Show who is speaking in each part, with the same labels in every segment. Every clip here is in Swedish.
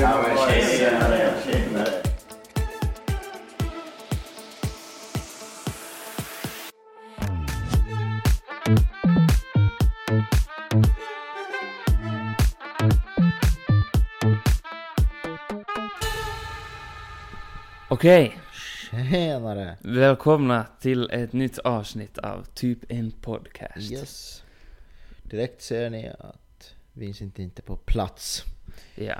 Speaker 1: Ja, men tjenare, tjenare.
Speaker 2: Okej,
Speaker 3: Tjenare!
Speaker 2: välkomna till ett nytt avsnitt av Typ en podcast.
Speaker 3: Yes. Direkt ser ni att Vincent inte är på plats.
Speaker 2: Ja.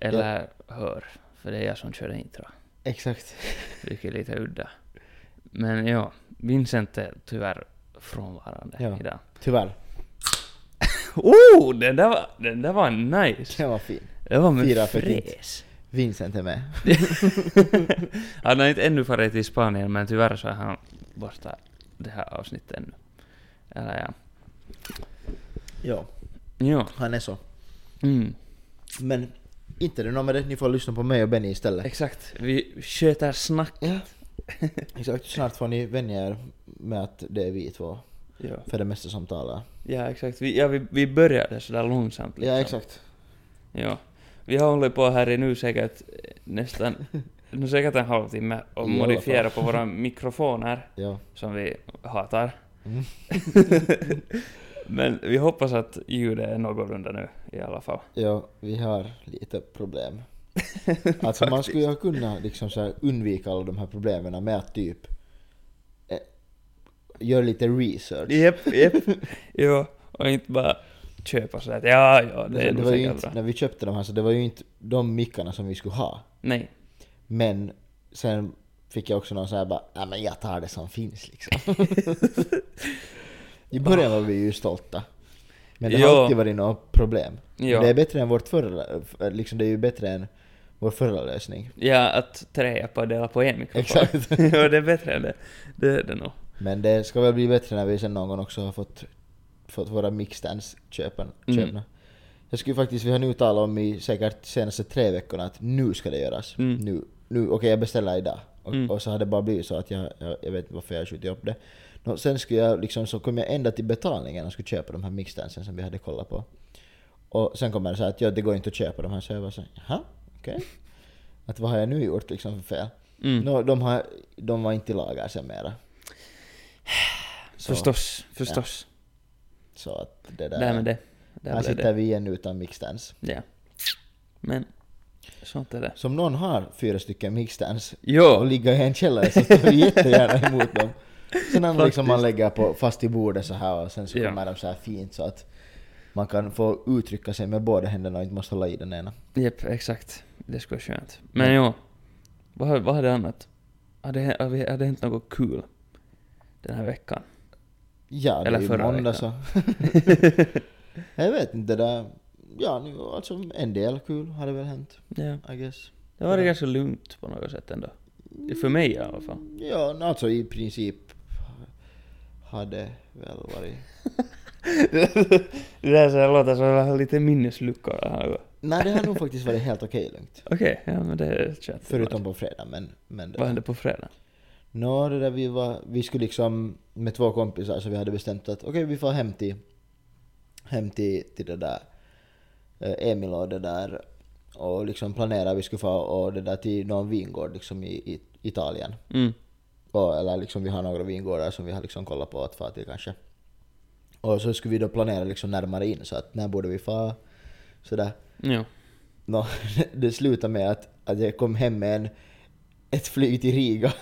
Speaker 2: Eller hör, för det är jag som kör intro.
Speaker 3: Exakt.
Speaker 2: Vilket är lite udda. Men ja, Vincent är tyvärr frånvarande
Speaker 3: Ja.
Speaker 2: idag.
Speaker 3: Tyvärr.
Speaker 2: Oh, den där var, den där var nice!
Speaker 3: Den var fin.
Speaker 2: Det var med
Speaker 3: Fira för
Speaker 2: fräs.
Speaker 3: Vincent är med.
Speaker 2: Han har inte ännu farit till Spanien, men tyvärr så är han borta det här avsnittet ännu. Eller ja.
Speaker 3: Ja,
Speaker 2: Ja.
Speaker 3: han är så.
Speaker 2: Mm.
Speaker 3: Men inte det något med det. Ni får lyssna på mig och Benny istället.
Speaker 2: Exakt. Vi sköter snack.
Speaker 3: Ja. Exakt. Snart får ni vänja er med att det är vi två
Speaker 2: Ja.
Speaker 3: för det mesta som talar.
Speaker 2: Ja, exakt. Vi, ja, vi, vi började sådär långsamt liksom.
Speaker 3: Ja, exakt.
Speaker 2: Ja. Vi har hållit på här i nu säkert eh, nästan, nu säkert en halvtimme och
Speaker 3: I alla
Speaker 2: modifierat på våra mikrofoner
Speaker 3: Ja.
Speaker 2: som vi hatar.
Speaker 3: Mm.
Speaker 2: Men vi hoppas att ljudet är någorlunda nu i alla fall.
Speaker 3: Ja, vi har lite problem. Alltså man skulle ju ha kunnat liksom så här undvika alla de här problemen med att typ eh, göra lite research.
Speaker 2: Jep, jep. jo, och inte bara köpa sådär att ja, ja, det
Speaker 3: Alltså, Det,
Speaker 2: är nog
Speaker 3: var ju
Speaker 2: säkert
Speaker 3: inte,
Speaker 2: bra.
Speaker 3: när vi köpte de här så det var ju inte de mickarna som vi skulle ha.
Speaker 2: Nej.
Speaker 3: Men sen fick jag också någon sån här bara ja men jag tar det som finns liksom. I början var vi ju stolta. Men det
Speaker 2: Ja.
Speaker 3: har alltid varit några problem.
Speaker 2: Ja.
Speaker 3: Det är bättre än vårt förra, liksom det är ju bättre än vår förra lösning.
Speaker 2: Ja, att trä på dela på en mikrofon.
Speaker 3: Exakt.
Speaker 2: ja, det är bättre än det. Det är det nog.
Speaker 3: Men det ska väl bli bättre när vi sen någon gång också har fått, fått våra mixstands köpen,
Speaker 2: Mm.
Speaker 3: köpna. Jag skulle faktiskt, vi har nu talat om i säkert senaste tre veckorna att nu ska det göras.
Speaker 2: Mm.
Speaker 3: Nu, nu okej jag beställer idag. Och,
Speaker 2: Mm.
Speaker 3: och så har det bara blivit så att jag, jag, jag vet inte varför jag har skjutit upp det. Nå, sen skulle jag liksom, så kom jag ända till betalningen och skulle köpa de här mixdansen som vi hade kollat på. Och sen kommer det så här att ja, det går inte att köpa de här, så jag bara så här, jaha, okej. Att vad har jag nu gjort liksom för fel?
Speaker 2: Mm.
Speaker 3: Nå, de, har, de var inte i lager sen mera. Så,
Speaker 2: Förstås, förstås.
Speaker 3: Så att det
Speaker 2: Där,
Speaker 3: där.
Speaker 2: med det. Där
Speaker 3: här
Speaker 2: blev
Speaker 3: sitter
Speaker 2: det.
Speaker 3: vi igen utan mixdance.
Speaker 2: Ja. Men, sånt är det.
Speaker 3: Så om någon har fyra stycken mixdance och
Speaker 2: Jo!
Speaker 3: ligger i en källare så tar vi jättegärna emot dem. Sen har man liksom man lägger på, fast i bordet så här och sen så
Speaker 2: Ja.
Speaker 3: kommer de så här fint så att man kan få uttrycka sig med båda händerna och inte måste hålla i den ena.
Speaker 2: Jep, exakt. Det skulle vara skönt. Men jo. Vad, har- vad hade annat? Hade, hä- har vi- hade hänt något kul den här veckan?
Speaker 3: Ja, det
Speaker 2: Eller
Speaker 3: är ju
Speaker 2: förra
Speaker 3: måndag så.
Speaker 2: veckan.
Speaker 3: Jag vet inte, det där... Ja, nu, alltså en del kul har det väl hänt,
Speaker 2: Ja.
Speaker 3: I guess.
Speaker 2: Det var det ganska lugnt på något sätt ändå. För mig i alla fall.
Speaker 3: Ja, alltså i princip har det väl varit...
Speaker 2: det där så här låter som att jag har lite minnesluckor. Okej,
Speaker 3: Nej, det har nog faktiskt varit helt okej lugnt.
Speaker 2: ja men det är kört.
Speaker 3: Förutom på fredag, men... men det
Speaker 2: Vad hände på fredag?
Speaker 3: Nå, det där vi var... Vi skulle liksom med två kompisar så vi hade bestämt att okej, vi får hem till... Hem till, till det där... eh, Emil och det där... Och liksom planera vi skulle få och det där till någon vingård liksom i, i Italien.
Speaker 2: Mm.
Speaker 3: Och, eller liksom vi har några vingårdar som vi har liksom kollat på att fara till kanske. Och så skulle vi då planera liksom närmare in så att när borde vi fara? Sådär.
Speaker 2: Ja.
Speaker 3: Nå, det slutade med att, att jag kom hem med en, ett flyg till Riga.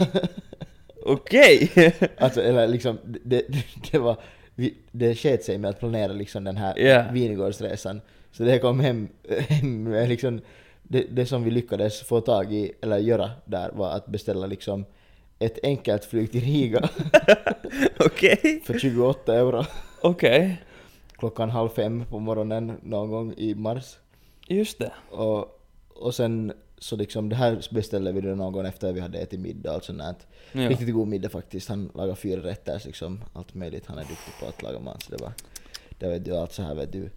Speaker 2: Okej!
Speaker 3: alltså, eller liksom, det, det, det var... vi- Det sket sig med att planera liksom den här
Speaker 2: Ja.
Speaker 3: vingårdsresan. Så det kom hem, hem med liksom, det, det som vi lyckades få tag i, eller göra där, var att beställa liksom ett enkelt flyg till Riga
Speaker 2: Alltså, Okej!
Speaker 3: för 28 euro.
Speaker 2: Okej.
Speaker 3: Klockan halv fem på morgonen någon gång i mars.
Speaker 2: Just det.
Speaker 3: Och, och sen så liksom, det här beställde vi då någon efter vi hade ätit middag och sånt där.
Speaker 2: Ja.
Speaker 3: Riktigt god middag faktiskt. Han lagar fyra rätter liksom, allt möjligt. Han är duktig på att laga mat. Så det var, det vet du, allt så här vet du.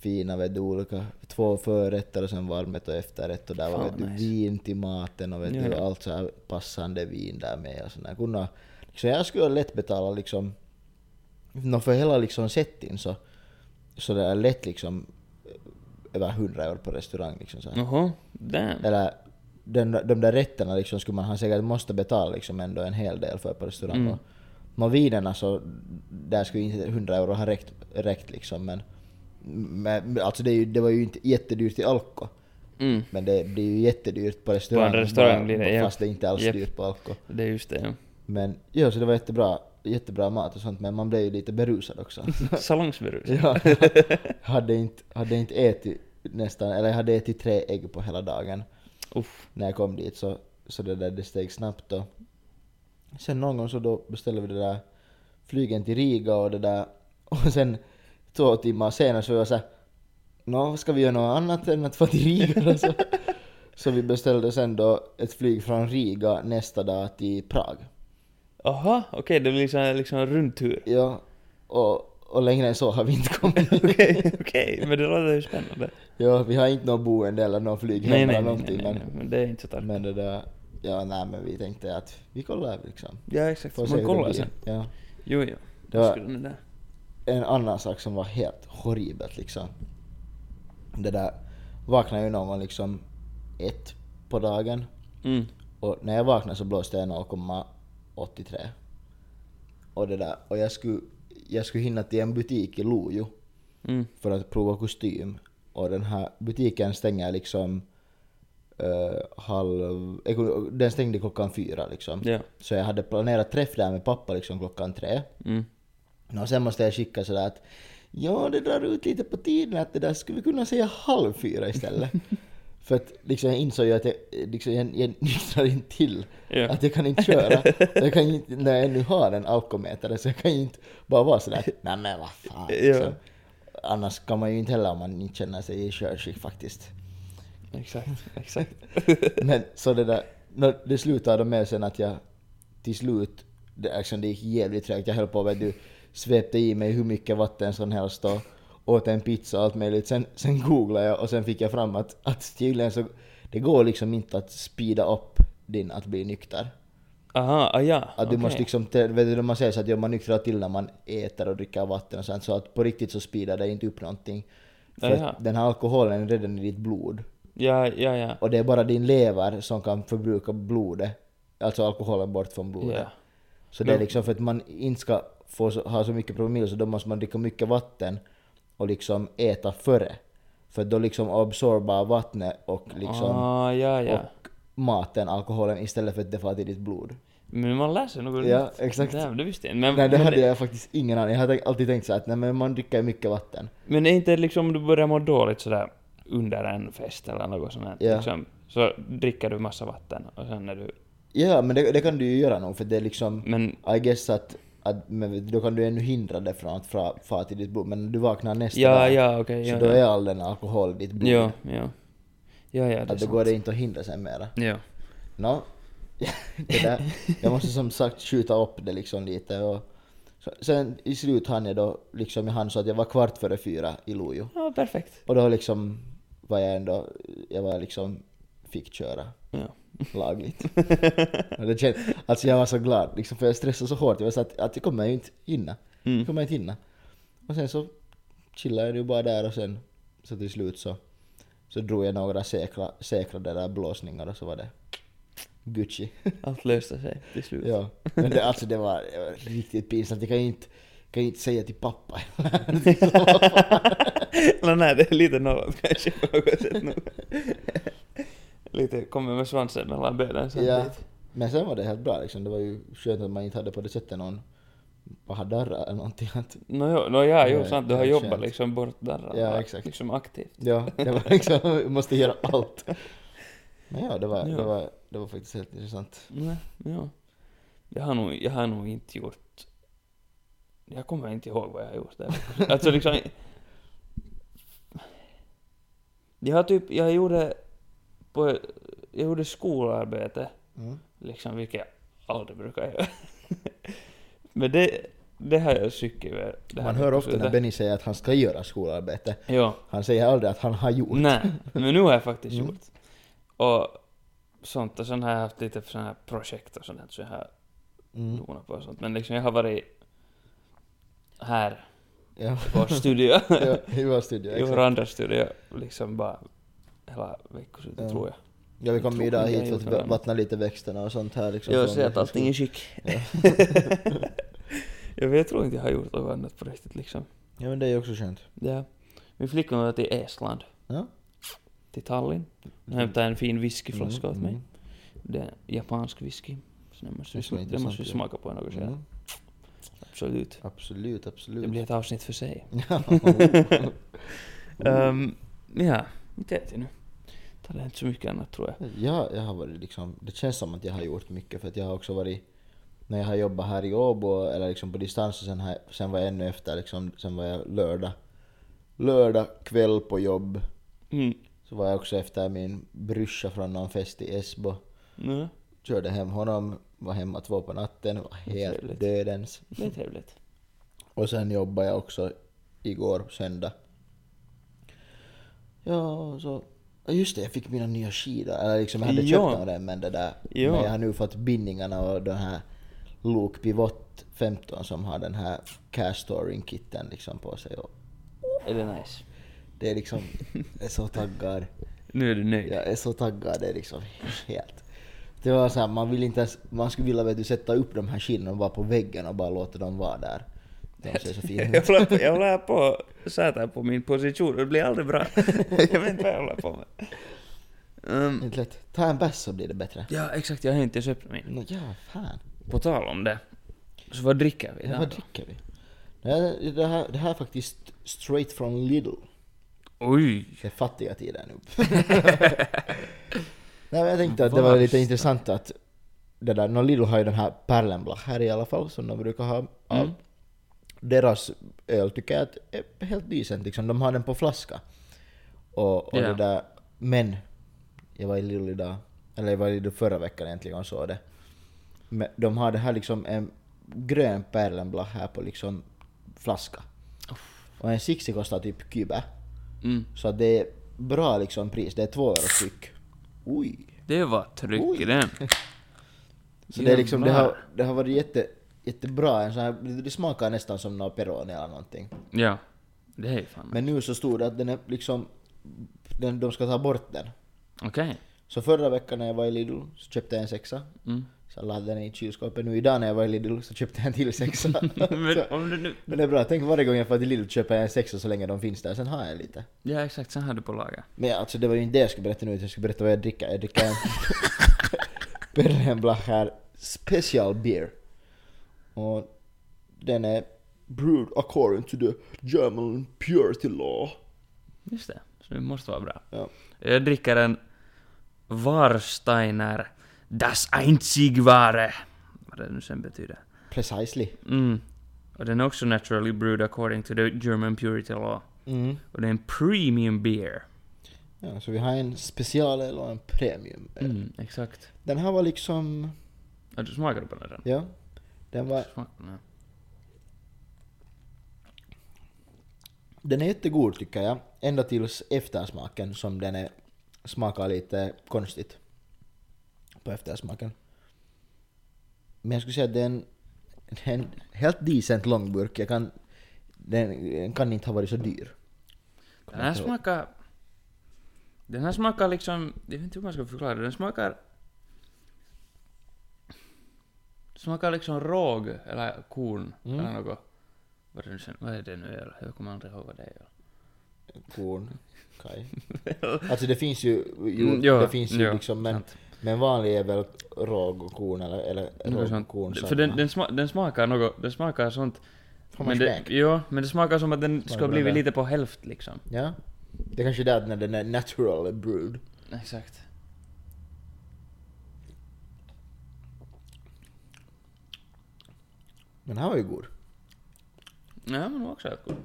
Speaker 3: Fina vet du, olika, två förrätter och sen varmrätt och efterrätt och där var
Speaker 2: Fan,
Speaker 3: vet du,
Speaker 2: nice.
Speaker 3: vin till maten och vet
Speaker 2: Ja,
Speaker 3: du,
Speaker 2: ja.
Speaker 3: allt så här passande vin där med och sånt där. Kunna, liksom, jag skulle lätt betala liksom, nå för hela liksom settingen så så det är lätt liksom över hundra år på restaurang. Liksom, så här.
Speaker 2: Jaha, damn.
Speaker 3: Eller den, de där rätterna liksom skulle man ha säkert måste betala liksom ändå en hel del för på restaurang.
Speaker 2: Mm.
Speaker 3: Mm. Men vinerna så, där skulle inte 100 euro ha räckt, räckt liksom men, men alltså det, är ju, det var ju inte jättedyrt i alko.
Speaker 2: Mm.
Speaker 3: Men det blir ju jättedyrt på restaurang.
Speaker 2: restaurang
Speaker 3: bara-
Speaker 2: blir det,
Speaker 3: Fast det
Speaker 2: japp.
Speaker 3: är inte alls
Speaker 2: Japp.
Speaker 3: dyrt på alko.
Speaker 2: Det är just det, ja.
Speaker 3: Men ja, så det var jättebra, jättebra mat och sånt men man blev ju lite berusad också.
Speaker 2: Salongsberus.
Speaker 3: Ja, hade inte, hade inte ätit nästan, eller jag hade ätit tre ägg på hela dagen
Speaker 2: Uff.
Speaker 3: när jag kom dit så, så det där det steg snabbt då. Sen någon gång så då beställde vi det där flygen till Riga och det där och sen två timmar senare så var jag såhär Nå, ska vi göra något annat än att få till Riga då?" så, så vi beställde sen då ett flyg från Riga nästa dag till Prag.
Speaker 2: Aha, okej, det blir liksom, liksom en rundtur.
Speaker 3: Ja, och, och längre än så har vi inte kommit.
Speaker 2: Okej, okej, men det låter ju spännande.
Speaker 3: Ja, vi har inte något boende eller något flyg hem
Speaker 2: Nej, nej,
Speaker 3: eller
Speaker 2: nej, nej,
Speaker 3: någonting.
Speaker 2: nej, nej, men det är inte så
Speaker 3: Men,
Speaker 2: starkt.
Speaker 3: men det där, ja nej men vi tänkte att vi kollar liksom.
Speaker 2: Ja, exakt.
Speaker 3: Får se hur
Speaker 2: Man
Speaker 3: det
Speaker 2: kollar
Speaker 3: blir.
Speaker 2: sen.
Speaker 3: Ja.
Speaker 2: Jo, jo.
Speaker 3: Det var-
Speaker 2: Vad skulle den där?
Speaker 3: En annan sak som var helt horribelt liksom. Det där, vaknade ju någon gång liksom ett på dagen.
Speaker 2: Mm.
Speaker 3: Och när jag vaknade så blåste jag 0,83. Och det där, och jag skulle, jag skulle hinna till en butik i Lojo
Speaker 2: Mm.
Speaker 3: för att prova kostym. Och den här butiken stänger liksom eh, halv... eko- Den stängde klockan fyra liksom.
Speaker 2: Ja.
Speaker 3: Så jag hade planerat träff där med pappa liksom klockan tre.
Speaker 2: Mm.
Speaker 3: Och sen måste jag skicka sådär att ja, det drar ut lite på tiden att det där skulle vi kunna säga halv fyra istället. För att liksom jag insåg ju att jag, liksom, jag, jag nyktrar inte till.
Speaker 2: Ja.
Speaker 3: Att jag kan inte köra. Jag kan ju inte, när jag nu har en alkometer så jag kan ju inte bara vara sådär nej men vad fan.
Speaker 2: Ja.
Speaker 3: Liksom. Annars kan man ju inte heller om man inte känner sig i körskick faktiskt.
Speaker 2: Exakt, exakt.
Speaker 3: Men så det där, nå, det slutade med sen att jag till slut, det, liksom, det gick jävligt trögt. Jag höll på vet du, svepte i mig hur mycket vatten som helst och åt en pizza och allt möjligt. Sen, sen googlade jag och sen fick jag fram att, att tydligen så, det går liksom inte att speeda upp din att bli nykter.
Speaker 2: Aha, ah, ja.
Speaker 3: Att du
Speaker 2: okej.
Speaker 3: måste liksom, te- vet du, man säger så att ja, man nyktrar till när man äter och dricker vatten och sånt, så att på riktigt så speedar det inte upp någonting. För
Speaker 2: Jaha.
Speaker 3: att den här alkoholen är redan i ditt blod.
Speaker 2: Ja, ja, ja.
Speaker 3: Och det är bara din lever som kan förbruka blodet, alltså alkoholen bort från blodet.
Speaker 2: Ja.
Speaker 3: Så det är liksom för att man inte ska få så, ha så mycket promille så då måste man dricka mycket vatten och liksom äta före. För då liksom absorbar vattnet och liksom
Speaker 2: Ah, ja, ja.
Speaker 3: och maten, alkoholen istället för att det far till ditt blod.
Speaker 2: Men man lär sig något
Speaker 3: Ja,
Speaker 2: nytt.
Speaker 3: exakt.
Speaker 2: Damn, det visste jag inte. Men,
Speaker 3: Nej det
Speaker 2: men,
Speaker 3: hade jag faktiskt ingen aning Jag hade tänkt- alltid tänkt så att nej men man dricker mycket vatten.
Speaker 2: men är inte liksom om du börjar må dåligt sådär under en fest eller något sånt här,
Speaker 3: Ja.
Speaker 2: liksom, så dricker du massa vatten och sen är du...
Speaker 3: Ja men det, det kan du ju göra nog för det är liksom,
Speaker 2: Men
Speaker 3: I guess att, att men då kan du ännu hindra det från att fra- fara till ditt blod. Men när du vaknar nästa
Speaker 2: ja,
Speaker 3: dag
Speaker 2: ja, okej.
Speaker 3: så
Speaker 2: ja,
Speaker 3: då
Speaker 2: ja.
Speaker 3: är all den alkohol i ditt blod.
Speaker 2: Ja, ja. Ja, ja, det är
Speaker 3: att då
Speaker 2: sant.
Speaker 3: går det inte att hindra sig mera.
Speaker 2: Ja.
Speaker 3: Nå, det där. Jag måste som sagt skjuta upp det liksom lite och så, sen i slut hann jag då liksom, jag hann så att jag var kvart före fyra i Lojo.
Speaker 2: Ja, perfekt.
Speaker 3: Och då liksom var jag ändå, jag var liksom, fick köra
Speaker 2: Ja.
Speaker 3: lagligt. Och det känd, alltså jag var så glad, liksom, för jag stressade så hårt. Jag var så att, att jag kommer ju inte hinna.
Speaker 2: Mm.
Speaker 3: Jag kommer inte hinna. Och sen så chillade jag ju bara där och sen så till slut så, så drog jag några säkra, säkra det där blåsningar och så var det Gucci.
Speaker 2: Allt löste sig till slut.
Speaker 3: ja. Men det, alltså det var, det var riktigt pinsamt. Jag kan ju inte, kan ju inte säga till pappa.
Speaker 2: Eller nej, det är lite något kanske på något sätt nu. Lite kommer med svansen mellan benen
Speaker 3: ja.
Speaker 2: samtidigt.
Speaker 3: Men sen var det helt bra liksom. Det var ju skönt att man inte hade på det sättet någon bara dörrar eller någonting. Att
Speaker 2: Nå jo, nå ja, jo
Speaker 3: Nej,
Speaker 2: sant, du har
Speaker 3: det
Speaker 2: jobbat
Speaker 3: känns.
Speaker 2: liksom bort där.
Speaker 3: Ja, exakt.
Speaker 2: Liksom aktivt.
Speaker 3: Ja, det var liksom, vi måste göra allt. Men ja, det var,
Speaker 2: Ja.
Speaker 3: Det, var, det var faktiskt helt intressant.
Speaker 2: Nej, ja. Jag har nog, jag har nog inte gjort... Jag kommer inte ihåg vad jag har gjort där. alltså liksom... Jag har typ, jag gjorde... På, jag gjorde skolarbete
Speaker 3: Mm.
Speaker 2: Liksom, vilket jag aldrig brukar göra. Men det, det har jag psykiskt över. det här
Speaker 3: Man hör ofta
Speaker 2: beslutet.
Speaker 3: när Benny säger att han ska göra skolarbete.
Speaker 2: Ja.
Speaker 3: Han säger aldrig att han har gjort.
Speaker 2: Nej, men nu har jag faktiskt
Speaker 3: Mm.
Speaker 2: gjort. Och sånt, och sen har jag haft lite sådana här projekt och sånt här, så jag har
Speaker 3: Mm.
Speaker 2: donat på och sånt. Men liksom jag har varit här
Speaker 3: Ja.
Speaker 2: vår studio.
Speaker 3: ja, I vår studio,
Speaker 2: I vår
Speaker 3: exakt.
Speaker 2: andra studio, liksom bara hela veckoslutet
Speaker 3: Ja.
Speaker 2: tror jag.
Speaker 3: Ja, vi kom
Speaker 2: tror
Speaker 3: ju idag
Speaker 2: vi har
Speaker 3: hit för
Speaker 2: gjort
Speaker 3: att
Speaker 2: varandra.
Speaker 3: va- vattna lite växterna och sånt här liksom.
Speaker 2: Jag
Speaker 3: från-
Speaker 2: ser att allting är chic. jag, vet, jag tror inte jag har gjort något annat på riktigt liksom.
Speaker 3: Ja men det är ju också skönt.
Speaker 2: Ja. Min flickvän var till Estland,
Speaker 3: Ja.
Speaker 2: till Tallinn. Hon hämtade en fin whiskyflaska åt mig.
Speaker 3: Mm.
Speaker 2: Det är japansk whisky. Så den måste,
Speaker 3: Det skulle
Speaker 2: vi,
Speaker 3: vara
Speaker 2: den måste vi
Speaker 3: intressant,
Speaker 2: smaka på något
Speaker 3: Mm.
Speaker 2: mm.
Speaker 3: Mm.
Speaker 2: Absolut.
Speaker 3: Absolut,
Speaker 2: Det
Speaker 3: absolut.
Speaker 2: blir ett avsnitt för sig.
Speaker 3: Ja.
Speaker 2: Ehm, ja, inte vet jag nu. Det är inte så mycket annat tror jag.
Speaker 3: jag, jag har varit liksom, det känns som att jag har gjort mycket för att jag har också varit när jag har jobbat här i Åbo eller liksom på distans och sen, här, sen var jag ännu efter liksom, sen var jag lördag. Lördag kväll på jobb.
Speaker 2: Mm.
Speaker 3: Så var jag också efter min brorsa från någon fest i Esbo.
Speaker 2: Ja,
Speaker 3: Körde hem honom, var hemma två på natten, var
Speaker 2: Trevligt.
Speaker 3: helt dödens.
Speaker 2: det är trevligt.
Speaker 3: Och sen jobbade jag också igår söndag. Ja, och så... ja, Just det, jag fick mina nya skidor. Eller liksom, jag hade
Speaker 2: Ja.
Speaker 3: köpt av dem men det där...
Speaker 2: Ja.
Speaker 3: Men jag har nu fått bindningarna och den här Luke Pivot 15 som har den här castoring kitten liksom på sig. Och
Speaker 2: Är det nice?
Speaker 3: det är liksom... Jag är så taggad.
Speaker 2: Nu är du nöjd?
Speaker 3: Jag är så taggad, det är liksom helt... Det var såhär, man vill inte ens, Man skulle vilja vet du, sätta upp de här skidorna bara på väggen och bara låta dem vara där. De ser så fina
Speaker 2: Jag håller, på, jag håller här på att sätta på min position och det blir aldrig bra. jag vet inte vad jag håller på med. Ehm,
Speaker 3: Inte lätt. Ta en bärs så blir det bättre.
Speaker 2: ja, exakt. Jag har inte köpt min.
Speaker 3: Nå ja, fan.
Speaker 2: På tal om det. Så vad dricker vi?
Speaker 3: Ja,
Speaker 2: idag
Speaker 3: vad
Speaker 2: då?
Speaker 3: dricker vi? Nej, Det här, det här är faktiskt straight från Lidl.
Speaker 2: Oj!
Speaker 3: Det är fattiga tider nu. Nej men jag tänkte att det var lite
Speaker 2: Värsta.
Speaker 3: intressant att det där, nå Lidl har ju den här Perlenblach här i alla fall som de brukar ha. Ja, Deras öl tycker jag att är helt decent liksom, de har den på flaska. Och, och
Speaker 2: Ja.
Speaker 3: det där, men jag var i Lidl idag, eller jag var i Lidl förra veckan egentligen och såg det. Men de har det här liksom en grön Perlenblach här på liksom flaska. Och en 60 kostar typ kuba.
Speaker 2: Mm.
Speaker 3: Så att det är bra liksom pris, det är två euro styck. Oj!
Speaker 2: Det var tryck i
Speaker 3: Oj.
Speaker 2: den.
Speaker 3: Så det, är liksom, det, har,
Speaker 2: Jävlar.
Speaker 3: det har varit jätte, jättebra, en sån här, det smakar nästan som någon peroni eller någonting.
Speaker 2: Ja. Det är ju fan
Speaker 3: Men nu så stod det att den är liksom, den, de ska ta bort den.
Speaker 2: Okej.
Speaker 3: Så förra veckan när jag var i Lidl så köpte jag en sexa.
Speaker 2: Mm.
Speaker 3: Så laddade den i kylskåpet. Nu idag när jag var i Lidl så köpte jag en till sexa.
Speaker 2: Men
Speaker 3: så,
Speaker 2: om du nu...
Speaker 3: men det är bra, tänk varje gång jag får till Lidl köper jag en sexa så länge de finns där, sen har jag lite.
Speaker 2: Ja exakt, sen har du på lager.
Speaker 3: Men alltså det var ju inte det jag skulle berätta nu, utan jag skulle berätta vad jag dricker. Jag dricker en Berlenblacher Special Beer. Och den är brewed according to the German purity law.
Speaker 2: Just det. Så det måste vara bra.
Speaker 3: Ja.
Speaker 2: Jag dricker en Warsteiner Das Einzigware. Vad det nu sen betyder.
Speaker 3: Precisely.
Speaker 2: Mm. Och den är också naturally brewed according to the German purity law.
Speaker 3: Mm.
Speaker 2: Och det är en premium beer.
Speaker 3: Ja, så vi har en specialöl och en premium.
Speaker 2: Mm, exakt.
Speaker 3: Den här var liksom,
Speaker 2: Ja, du smakade på den redan.
Speaker 3: ja. Den, var,
Speaker 2: Smak på den här.
Speaker 3: den är jättegod tycker jag. Ända tills eftersmaken som den är, smakar lite konstigt. På eftersmaken. Men jag skulle säga att det är en, det är en helt decent långburk. Jag kan, den, den kan inte ha varit så dyr.
Speaker 2: Den här
Speaker 3: Jag tror-
Speaker 2: smakar... Den här smakar liksom... Jag vet inte hur man ska förklara det. Den smakar... den smakar liksom råg eller korn eller något. Vad är, det, nu sen- vad är det nu öl? Jag kommer aldrig ihåg vad det är. öl.
Speaker 3: Korn, kaj. Alltså det finns ju, jo,
Speaker 2: Mm, ja,
Speaker 3: det finns ju
Speaker 2: ja,
Speaker 3: liksom men,
Speaker 2: sant.
Speaker 3: men vanlig är väl råg och korn eller, eller
Speaker 2: Något
Speaker 3: råg
Speaker 2: sånt.
Speaker 3: och korn.
Speaker 2: För den, den, sma, den smakar något... Den smakar sånt...
Speaker 3: Får
Speaker 2: Men
Speaker 3: man
Speaker 2: det,
Speaker 3: smak?
Speaker 2: ja, men det smakar som att den ska
Speaker 3: bra
Speaker 2: ha blivit
Speaker 3: där.
Speaker 2: lite på hälft liksom.
Speaker 3: Ja. Det kanske är där när den är natural brewed.
Speaker 2: Exakt.
Speaker 3: Men den här var ju god.
Speaker 2: Ja, men också rätt god.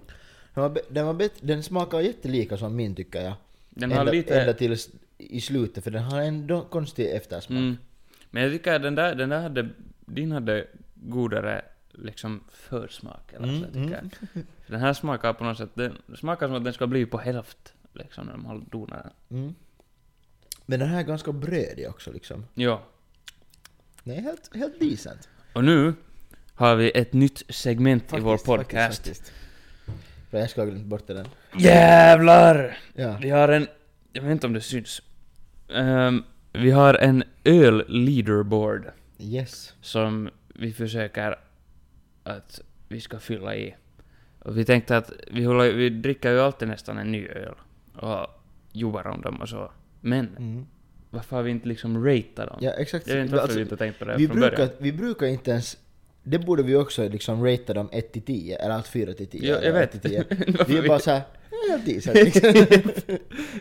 Speaker 3: Den, var, be- den, var bet, den smakar jättelika som min tycker jag.
Speaker 2: Den har
Speaker 3: ända,
Speaker 2: lite...
Speaker 3: ända till i slutet för den har ändå konstig eftersmak.
Speaker 2: Mm. Men jag tycker att den där, den där hade, din hade godare liksom försmak. Eller
Speaker 3: Mm,
Speaker 2: så, jag tycker. För Den här smakar på något sätt, den smakar som att den ska bli på hälft. Liksom när de donar den.
Speaker 3: Mm. Men den här är ganska brödig också liksom.
Speaker 2: Ja.
Speaker 3: Den är helt, helt decent.
Speaker 2: Och nu har vi ett nytt segment i vår
Speaker 3: Faktiskt,
Speaker 2: podcast.
Speaker 3: faktiskt, faktiskt. Bra, jag ska ha glömt bort den.
Speaker 2: Jävlar!
Speaker 3: Ja.
Speaker 2: Vi har en... Jag vet inte om det syns. Ehm, vi har en öl-leaderboard
Speaker 3: Yes.
Speaker 2: som vi försöker att vi ska fylla i. Och vi tänkte att vi, håller, vi dricker ju alltid nästan en ny öl och jobbar om dem och så. Men
Speaker 3: Mm.
Speaker 2: varför har vi inte liksom ratat dem?
Speaker 3: Ja, exakt.
Speaker 2: Jag vet inte varför
Speaker 3: Alltså,
Speaker 2: vi inte tänkt på det
Speaker 3: vi,
Speaker 2: från
Speaker 3: brukar,
Speaker 2: början.
Speaker 3: vi brukar inte ens... Det borde vi också liksom ratea dem 1 till 10, eller allt 4 till 10.
Speaker 2: Ja, jag
Speaker 3: eller
Speaker 2: vet.
Speaker 3: 1 till 10.
Speaker 2: Varför
Speaker 3: Vi är
Speaker 2: vi-
Speaker 3: bara såhär, ja, decent liksom.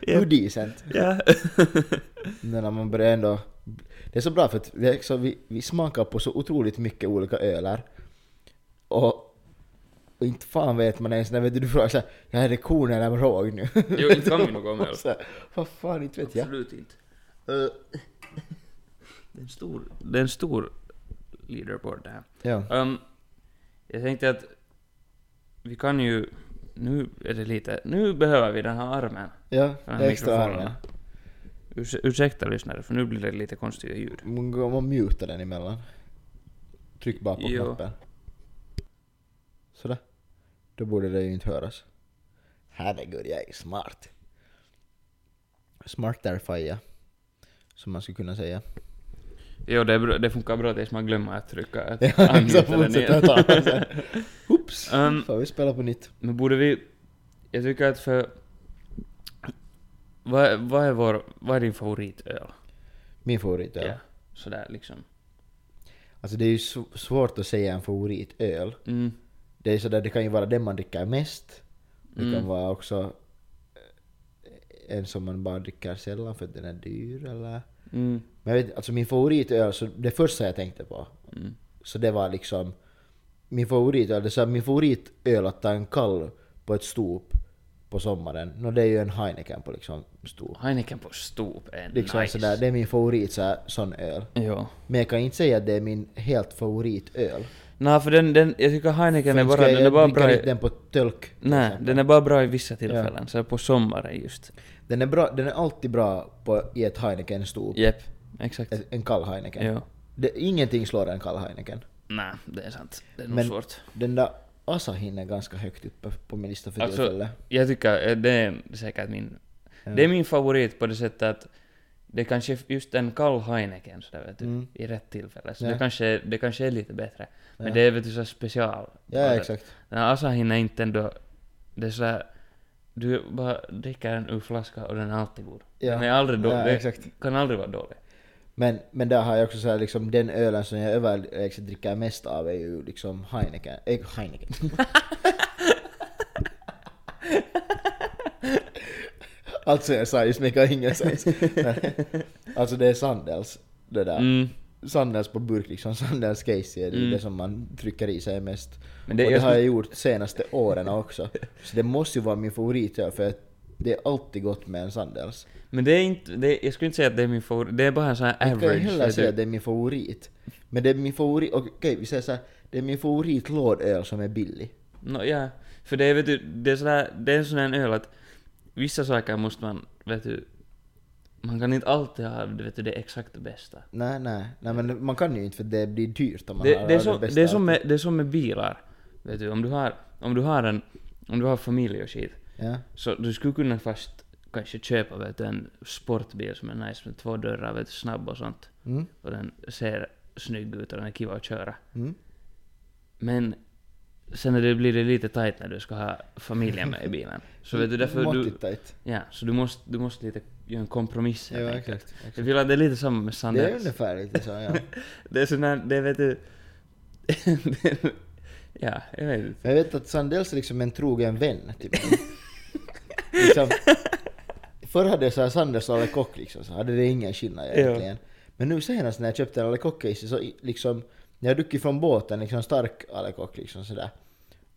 Speaker 3: Hur decent?
Speaker 2: Ja.
Speaker 3: Men när man börjar ändå... Det är så bra för att vi, så vi, vi smakar på så otroligt mycket olika ölar. Och, och inte fan vet man ens när vet du, du frågar såhär, ja, är det korn eller råg nu?
Speaker 2: Jo, inte kan vi något om öl.
Speaker 3: Och så här, Vad fan, inte vet jag. Eh,
Speaker 2: Absolut inte. Det är en stor, det är en stor leaderboard det här.
Speaker 3: Ja.
Speaker 2: Ehm, jag tänkte att vi kan ju... Nu är det lite... Nu behöver vi den här armen.
Speaker 3: Ja,
Speaker 2: Den
Speaker 3: det
Speaker 2: här
Speaker 3: är extra armen.
Speaker 2: mikrofonen. Urse, ursäkta lyssnare, för nu blir det lite konstiga ljud.
Speaker 3: Man, går- man mutar den emellan. Tryck bara på
Speaker 2: Jo.
Speaker 3: knappen. Sådär. Då borde det ju inte höras. Herregud, jag är smart. Smart där Faja. Som man skulle kunna säga.
Speaker 2: Jo, det, är bra, det funkar bra tills man glömmer att trycka att
Speaker 3: Så
Speaker 2: angjuta den
Speaker 3: fortsätter
Speaker 2: igen.
Speaker 3: jag ta den sen. Oops!
Speaker 2: Ehm.
Speaker 3: Får vi spela på nytt?
Speaker 2: Men borde vi... Jag tycker att för... Vad, vad, är, vår, vad är din favoritöl?
Speaker 3: Min favorit öl.
Speaker 2: Sådär liksom.
Speaker 3: Alltså det är ju sv- svårt att säga en favoritöl.
Speaker 2: Mm.
Speaker 3: Det är sådär, det kan ju vara den man dricker mest. Det
Speaker 2: Mm.
Speaker 3: kan vara också eh, en som man bara dricker sällan för att den är dyr eller...
Speaker 2: Mm.
Speaker 3: Men jag vet, alltså min favoritöl, så det första jag tänkte på,
Speaker 2: Mm.
Speaker 3: så det var liksom min favoritöl, det är så här, min favoritöl att ta en kall på ett stop på sommaren, no, det är ju en Heineken på liksom stop.
Speaker 2: Heineken på stop är
Speaker 3: Liksom
Speaker 2: nice.
Speaker 3: sådär, det är min favorit så här, sån öl.
Speaker 2: Ja.
Speaker 3: Men jag kan inte säga att det är min helt favoritöl.
Speaker 2: Nej, för den, den, jag tycker Heineken är
Speaker 3: För
Speaker 2: bara,
Speaker 3: jag,
Speaker 2: den är
Speaker 3: jag
Speaker 2: bara
Speaker 3: dricker
Speaker 2: bra
Speaker 3: inte
Speaker 2: i,
Speaker 3: den på tölk. till
Speaker 2: Nej,
Speaker 3: exempel.
Speaker 2: den är bara bra i vissa tillfällen. Så på sommaren just.
Speaker 3: den, är bra, den är alltid bra på, i ett Heineken stop.
Speaker 2: Jep, exakt.
Speaker 3: Ett- En kall Heineken.
Speaker 2: Ja.
Speaker 3: Det, ingenting slår en kall Heineken.
Speaker 2: Nej, det är sant. Det är nog
Speaker 3: Men-
Speaker 2: svårt.
Speaker 3: Den där Asahin är ganska högt uppe på min lista för
Speaker 2: Alltså,
Speaker 3: tillfället.
Speaker 2: Jag tycker eh, det är säkert min... Det är min favorit på det sättet att det kanske just en kall Heineken sådär vet du,
Speaker 3: Mm.
Speaker 2: typ, i rätt tillfälle. Så
Speaker 3: Ja.
Speaker 2: det, kanske, det kanske är lite bättre. Men
Speaker 3: Ja.
Speaker 2: det är vet du så special. Alltså,
Speaker 3: Ja, exakt.
Speaker 2: Den här Asahin är inte ändå... Det är sådär... Du bara dricker den ur flaska och den är alltid god.
Speaker 3: Ja.
Speaker 2: Den är aldrig dålig.
Speaker 3: Ja,
Speaker 2: det
Speaker 3: exakt.
Speaker 2: kan aldrig vara dålig.
Speaker 3: Men, men där har jag också så här, liksom, den ölen som jag överlägset dricker mest av är ju liksom Heineken. Äh, Heineken. alltså jag sa just mycket ingen sägs. alltså det är Sandels, det där.
Speaker 2: Mm.
Speaker 3: Sandels på burk liksom, Sandels Casey är det, ju
Speaker 2: Mm.
Speaker 3: det som man trycker i sig mest.
Speaker 2: Men det-
Speaker 3: och det
Speaker 2: jag
Speaker 3: har
Speaker 2: skulle-
Speaker 3: jag gjort senaste åren också. Så det måste ju vara min favoritöl för att det är alltid gott med en Sandels.
Speaker 2: Men det är inte... Det är, jag skulle inte säga att det är min favorit. Det är bara en sån här
Speaker 3: Jag kan ju
Speaker 2: average. typ
Speaker 3: hellre
Speaker 2: vet
Speaker 3: säga
Speaker 2: du.
Speaker 3: att det är min favorit. Men det är min favorit, okej vi säger såhär, det är min favoritlådöl som är billig.
Speaker 2: Nå, ja. För det är, vet du, det är, sådär, det är en sån här öl att vissa saker måste man, vet du, man kan inte alltid ha vet du, det exakt bästa.
Speaker 3: Nej, nej, nej men man kan ju inte för det blir dyrt om man
Speaker 2: Det,
Speaker 3: har
Speaker 2: det, är
Speaker 3: det
Speaker 2: som,
Speaker 3: bästa
Speaker 2: det, är som med,
Speaker 3: alltid.
Speaker 2: det är som med bilar. Vet du, om du har, om du har en, om du har familj och shit,
Speaker 3: Ja.
Speaker 2: så du skulle kunna fast kanske köpa vet du, en sportbil som är nice med två dörrar, vet du, snabb och sånt.
Speaker 3: Mm.
Speaker 2: Och den ser snygg ut och den är kiva att köra.
Speaker 3: Mm.
Speaker 2: Men sen när det blir det lite tight när du ska ha familjen med i bilen. Så vet du, därför du,
Speaker 3: Måttligt tajt.
Speaker 2: Ja, så du måste, du måste lite göra en kompromiss helt
Speaker 3: Ja,
Speaker 2: enkelt.
Speaker 3: exakt, exakt.
Speaker 2: Jag vill att det är lite samma med
Speaker 3: Det är
Speaker 2: Sandels.
Speaker 3: ungefär lite så ja.
Speaker 2: Det är sån här, det vet du... det- ja, jag vet inte.
Speaker 3: Men Jag vet att Sandels är liksom en trogen vän till mig. liksom, förr hade jag så här Sandels och Lecoq liksom, så hade det ingen skillnad egentligen. Men nu senast när jag köpte en Lecoq case så i- liksom, när jag druckit från båten, liksom stark Lecoq liksom sådär.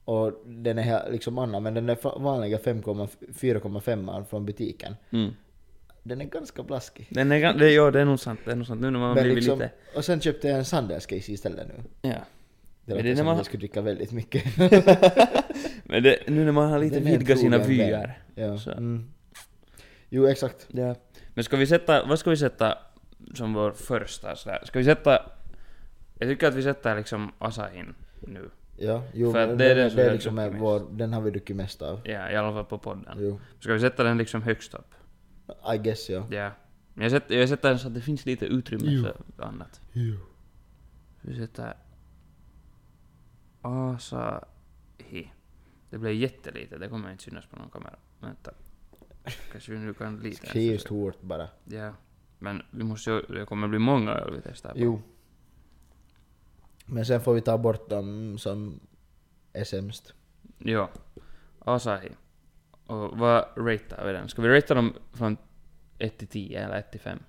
Speaker 3: Och den är he- liksom annan, men den är fa- vanliga 4,5 från butiken.
Speaker 2: Mm.
Speaker 3: Den är ganska blaskig.
Speaker 2: Den är, gan- det, ja, det är nog sant, det är nog sant. Nu när man
Speaker 3: Men
Speaker 2: blir
Speaker 3: liksom,
Speaker 2: lite...
Speaker 3: och sen köpte jag en Sandels case istället nu.
Speaker 2: Ja.
Speaker 3: Det
Speaker 2: Men
Speaker 3: låter
Speaker 2: det är när
Speaker 3: som
Speaker 2: man-
Speaker 3: att jag skulle dricka väldigt mycket.
Speaker 2: Men det, nu när man har lite
Speaker 3: Den är en
Speaker 2: vidgat sina
Speaker 3: trogen vän.
Speaker 2: vyer.
Speaker 3: Ja.
Speaker 2: Så.
Speaker 3: Mm. Jo, exakt.
Speaker 2: Ja. Men ska vi sätta, vad ska vi sätta som vår första sådär? Ska vi sätta... Jag tycker att vi sätter liksom Asahin nu.
Speaker 3: Ja, jo,
Speaker 2: För att
Speaker 3: men
Speaker 2: det är
Speaker 3: den,
Speaker 2: den som
Speaker 3: det
Speaker 2: vi
Speaker 3: är
Speaker 2: har
Speaker 3: liksom
Speaker 2: druckit
Speaker 3: vår, den har vi druckit mest av.
Speaker 2: Ja, i alla fall på podden.
Speaker 3: Jo.
Speaker 2: Ska vi sätta den liksom högst upp?
Speaker 3: I guess ja.
Speaker 2: Ja. Men jag sätter, jag sätter den så att det finns lite utrymme för annat. Vi sätter... Asahi. Det blev jättelite, det kommer inte synas på någon kamera. Vänta. Kanske vi nu kan lite.
Speaker 3: Skriv stort bara.
Speaker 2: Ja. Men vi måste ju, det kommer bli många öl vi testar på.
Speaker 3: Jo. Men sen får vi ta bort dem som är sämst.
Speaker 2: Ja. Asahi. Och vad ratear vi den? Ska vi ratea dem från 1 till 10 eller 1 till 5?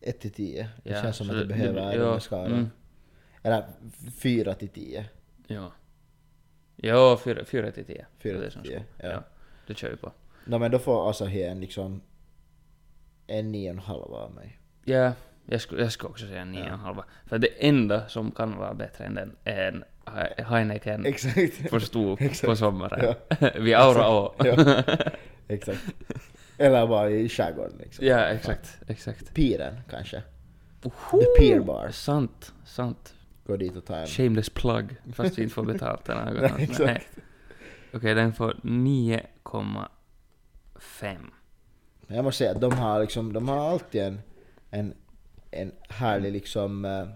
Speaker 3: 1 till 10. Det
Speaker 2: Ja,
Speaker 3: känns som
Speaker 2: så
Speaker 3: att det
Speaker 2: det-
Speaker 3: behöver
Speaker 2: det-
Speaker 3: ja,
Speaker 2: ja,
Speaker 3: en skala.
Speaker 2: mm.
Speaker 3: Eller 4 till 10.
Speaker 2: Ja. Ja, 4 till 10.
Speaker 3: Fyra
Speaker 2: Det är
Speaker 3: till
Speaker 2: som
Speaker 3: tio,
Speaker 2: ska-
Speaker 3: ja.
Speaker 2: ja. Det kör vi på.
Speaker 3: No, men då får Asahi en liksom en nio och en halv av mig.
Speaker 2: Ja, jag skulle, jag skulle också säga 9,5. För det enda som kan vara bättre än den är en He- Heineken
Speaker 3: Exakt.
Speaker 2: för stor på
Speaker 3: Exakt.
Speaker 2: sommaren. Vi aura å.
Speaker 3: ja. Exakt. Eller bara i skärgården liksom.
Speaker 2: Ja, exakt. Exakt.
Speaker 3: Piren kanske.
Speaker 2: Oho!
Speaker 3: The Pier Bar.
Speaker 2: Sant, sant.
Speaker 3: Gå dit och ta en.
Speaker 2: Shameless plug, fast vi inte får betalt den här gången.
Speaker 3: Nej, exakt.
Speaker 2: Okej, den får 9,5.
Speaker 3: Men jag måste säga att de har liksom, de har alltid en, en, en härlig liksom eh,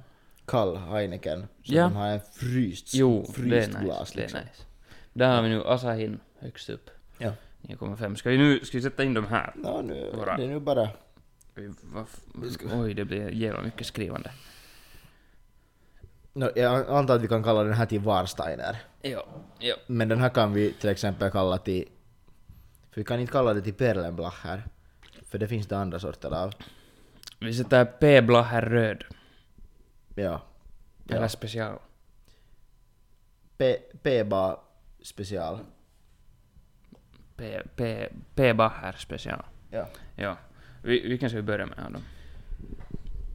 Speaker 3: kall Heineken. Så
Speaker 2: Ja.
Speaker 3: de har en fryst,
Speaker 2: Jo,
Speaker 3: fryst
Speaker 2: det är nice.
Speaker 3: glas
Speaker 2: det är
Speaker 3: liksom.
Speaker 2: nice. Där har vi nu Asahin högst upp.
Speaker 3: Ja.
Speaker 2: 9,5. Ska vi nu ska vi sätta in de här?
Speaker 3: Nå, nu,
Speaker 2: Bra.
Speaker 3: det är nu bara...
Speaker 2: Vi- vad f- Oj, det blir jävla mycket skrivande.
Speaker 3: Nå, jag antar att vi kan kalla den här till Warsteiner.
Speaker 2: Ja, ja.
Speaker 3: Men den här kan vi till exempel kalla till... För vi kan inte kalla det till Perlenblacher. För det finns det andra sorter av.
Speaker 2: Vi sätter P-blå här röd.
Speaker 3: Ja.
Speaker 2: Eller special.
Speaker 3: P- P-ba special.
Speaker 2: P, P, P-blå här special.
Speaker 3: Ja.
Speaker 2: Ja. Vi, vilken ska vi börja med av dem?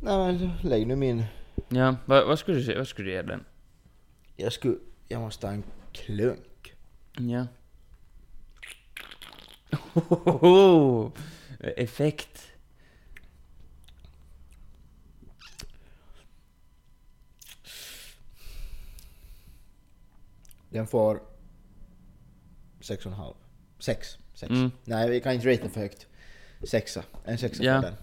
Speaker 3: Nej men lägg nu min...
Speaker 2: Ja, vad, vad skulle du säga? Vad skulle du ge den?
Speaker 3: Jag skulle... Jag måste ha en klunk.
Speaker 2: Ja. Hohoho! Effekt.
Speaker 3: Den får... 6,5. 6. 6.
Speaker 2: Mm.
Speaker 3: Nej vi kan inte rate den för högt. Sexa. En sexa
Speaker 2: Ja.
Speaker 3: får den.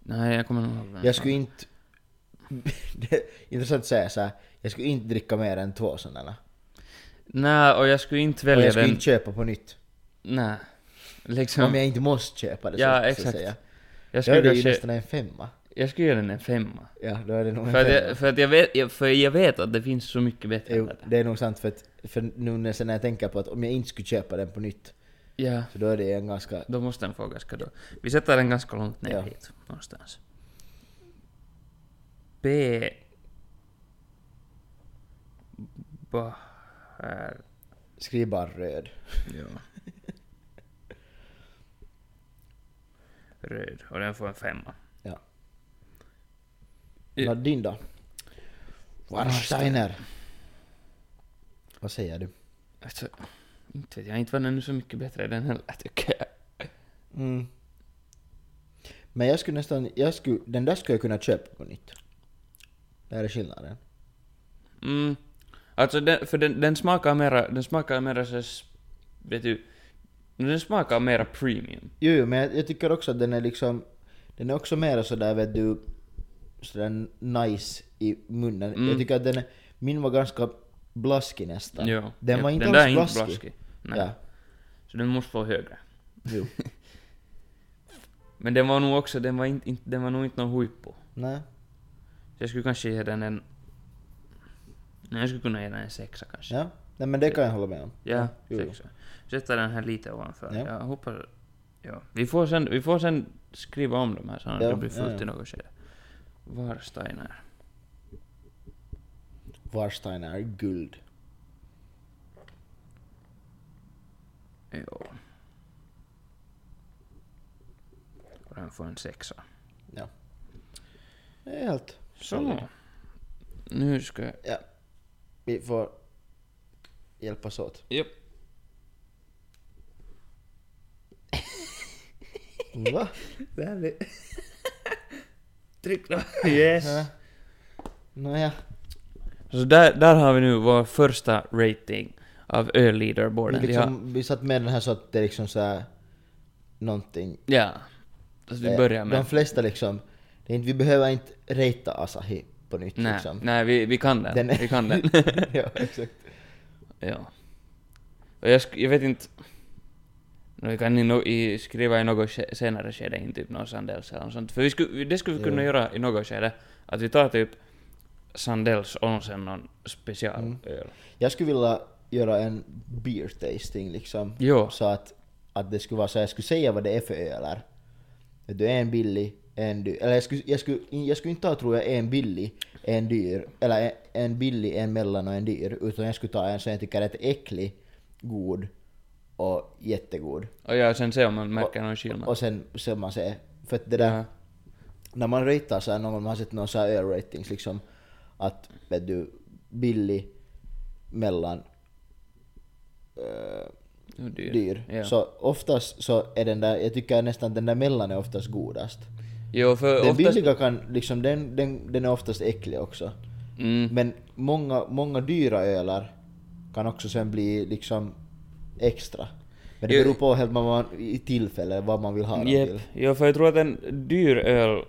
Speaker 2: Nej, jag kommer nog ihåg den.
Speaker 3: Jag skulle inte... det är intressant att säga så här. Jag skulle inte dricka mer än två sådana.
Speaker 2: Nej, och jag skulle inte
Speaker 3: Och
Speaker 2: välja
Speaker 3: jag skulle
Speaker 2: den.
Speaker 3: inte köpa på nytt.
Speaker 2: Nej. Liksom.
Speaker 3: Om
Speaker 2: Jag,
Speaker 3: jag inte måste köpa det
Speaker 2: Ja,
Speaker 3: så, så
Speaker 2: exakt.
Speaker 3: att säga.
Speaker 2: skulle
Speaker 3: Ja, det är ju
Speaker 2: kanske,
Speaker 3: nästan en femma.
Speaker 2: jag skulle ge den en femma.
Speaker 3: Ja, då är det nog en
Speaker 2: För att,
Speaker 3: femma.
Speaker 2: jag, för, att jag vet, jag- för jag vet att det finns så mycket bättre än
Speaker 3: Jo,
Speaker 2: det där.
Speaker 3: det är nog sant för att för nu när, sen när jag tänker på att om jag inte skulle köpa den på nytt
Speaker 2: Ja,
Speaker 3: så då är det en ganska...
Speaker 2: då måste den få ganska då. Vi sätter den ganska långt ner
Speaker 3: Ja.
Speaker 2: hit, någonstans. B... Bahar...
Speaker 3: Skriv bara röd.
Speaker 2: Ja. Röd. Och den får en femma.
Speaker 3: Ja.
Speaker 2: Ja.
Speaker 3: Nå, din då? Warsteiner. Vad säger du?
Speaker 2: Alltså, inte vet jag. Inte var den så mycket bättre den heller, tycker jag.
Speaker 3: Mm. Men jag skulle nästan... Jag skulle, den där skulle jag kunna köpa på nytt. Där är skillnaden.
Speaker 2: Mm. Alltså den, för den, den smakar mera, den smakar mera så, s- vet du, den smakar mera premium.
Speaker 3: Jo, jo, men jag, jag tycker också att den är liksom... Den är också mer sådär vet du... Sådär nice i munnen.
Speaker 2: Mm.
Speaker 3: Jag tycker att den är... Min var ganska blaskig nästan.
Speaker 2: Ja.
Speaker 3: Den
Speaker 2: Ja,
Speaker 3: var inte
Speaker 2: den där
Speaker 3: alls
Speaker 2: är
Speaker 3: blaskig.
Speaker 2: Nej.
Speaker 3: Ja.
Speaker 2: Så den måste vara högre.
Speaker 3: Jo.
Speaker 2: Men den var nog också, den var, inte, inte, den var nog inte någon huippo.
Speaker 3: Nej.
Speaker 2: Så jag skulle kanske ge den en... Nej, jag skulle kunna ge den en sexa kanske.
Speaker 3: Ja. Nej men det kan jag hålla med om.
Speaker 2: Ja,
Speaker 3: jo, jo.
Speaker 2: sexa. Sätta den här lite ovanför.
Speaker 3: Ja.
Speaker 2: Jag hoppas... Ja. Vi, får sen, vi får sen skriva om de här så att
Speaker 3: Ja,
Speaker 2: det blir
Speaker 3: ja,
Speaker 2: fullt
Speaker 3: ja.
Speaker 2: i något skede. Warsteiner.
Speaker 3: Warstein är guld.
Speaker 2: Ja. Och den får en sexa.
Speaker 3: Ja. Det är helt...
Speaker 2: Så. Nu ska jag...
Speaker 3: Ja. Vi får hjälpas åt.
Speaker 2: Japp.
Speaker 3: Va?
Speaker 2: Det här blir... Tryck då. Yes.
Speaker 3: Nåja.
Speaker 2: Så där, där har vi nu vår första rating av öl-leaderboarden.
Speaker 3: Vi,
Speaker 2: Vi har-
Speaker 3: liksom, vi satt med den här så att det är liksom så här någonting.
Speaker 2: Ja. Så Alltså, vi börjar med...
Speaker 3: Eh, De flesta liksom, det är inte, vi behöver inte rata Asahi på nytt
Speaker 2: Nej,
Speaker 3: liksom.
Speaker 2: nej vi, vi kan den.
Speaker 3: Den är-
Speaker 2: Vi kan den.
Speaker 3: ja, exakt.
Speaker 2: ja. Och jag, sk- jag vet inte... Nu kan ni no, i, skriva i något ske- senare skede, inte typ någon Sandells eller något sånt. För vi sku, det skulle vi kunna
Speaker 3: Jo.
Speaker 2: göra i något skede. Att vi tar typ Sandells och sen någon specialöl.
Speaker 3: Jag skulle vilja göra en beer tasting liksom.
Speaker 2: Jo.
Speaker 3: Så att, att det skulle vara så jag skulle säga vad det är för ölar. Vet Du en billig, en dyr. Eller jag skulle, jag skulle, jag skulle inte ta tror jag en billig, en dyr. Eller en, en billig, en mellan och en dyr. Utan jag skulle ta en som jag tycker är rätt äcklig, god och jättegod.
Speaker 2: Och jag sen se om man märker någon skillnad.
Speaker 3: Och sen ser man se. För att det där,
Speaker 2: Ja.
Speaker 3: när man ratear så här, någon gång, man har sett någon så här öl-ratings liksom. Att vet du, billig, mellan, eh,
Speaker 2: Nu dyr.
Speaker 3: dyr.
Speaker 2: Ja.
Speaker 3: Så oftast så är den där, jag tycker nästan den där mellan är oftast godast.
Speaker 2: Jo, för
Speaker 3: Den
Speaker 2: oftast...
Speaker 3: billiga kan, liksom, den, den, den är oftast äcklig också.
Speaker 2: Mm,
Speaker 3: Men många, många dyra ölar kan också sen bli liksom extra. Men det
Speaker 2: Jo.
Speaker 3: beror på helt vad man, i tillfälle, vad man vill ha dem
Speaker 2: Jep.
Speaker 3: till.
Speaker 2: Ja, för jag tror att en dyr öl,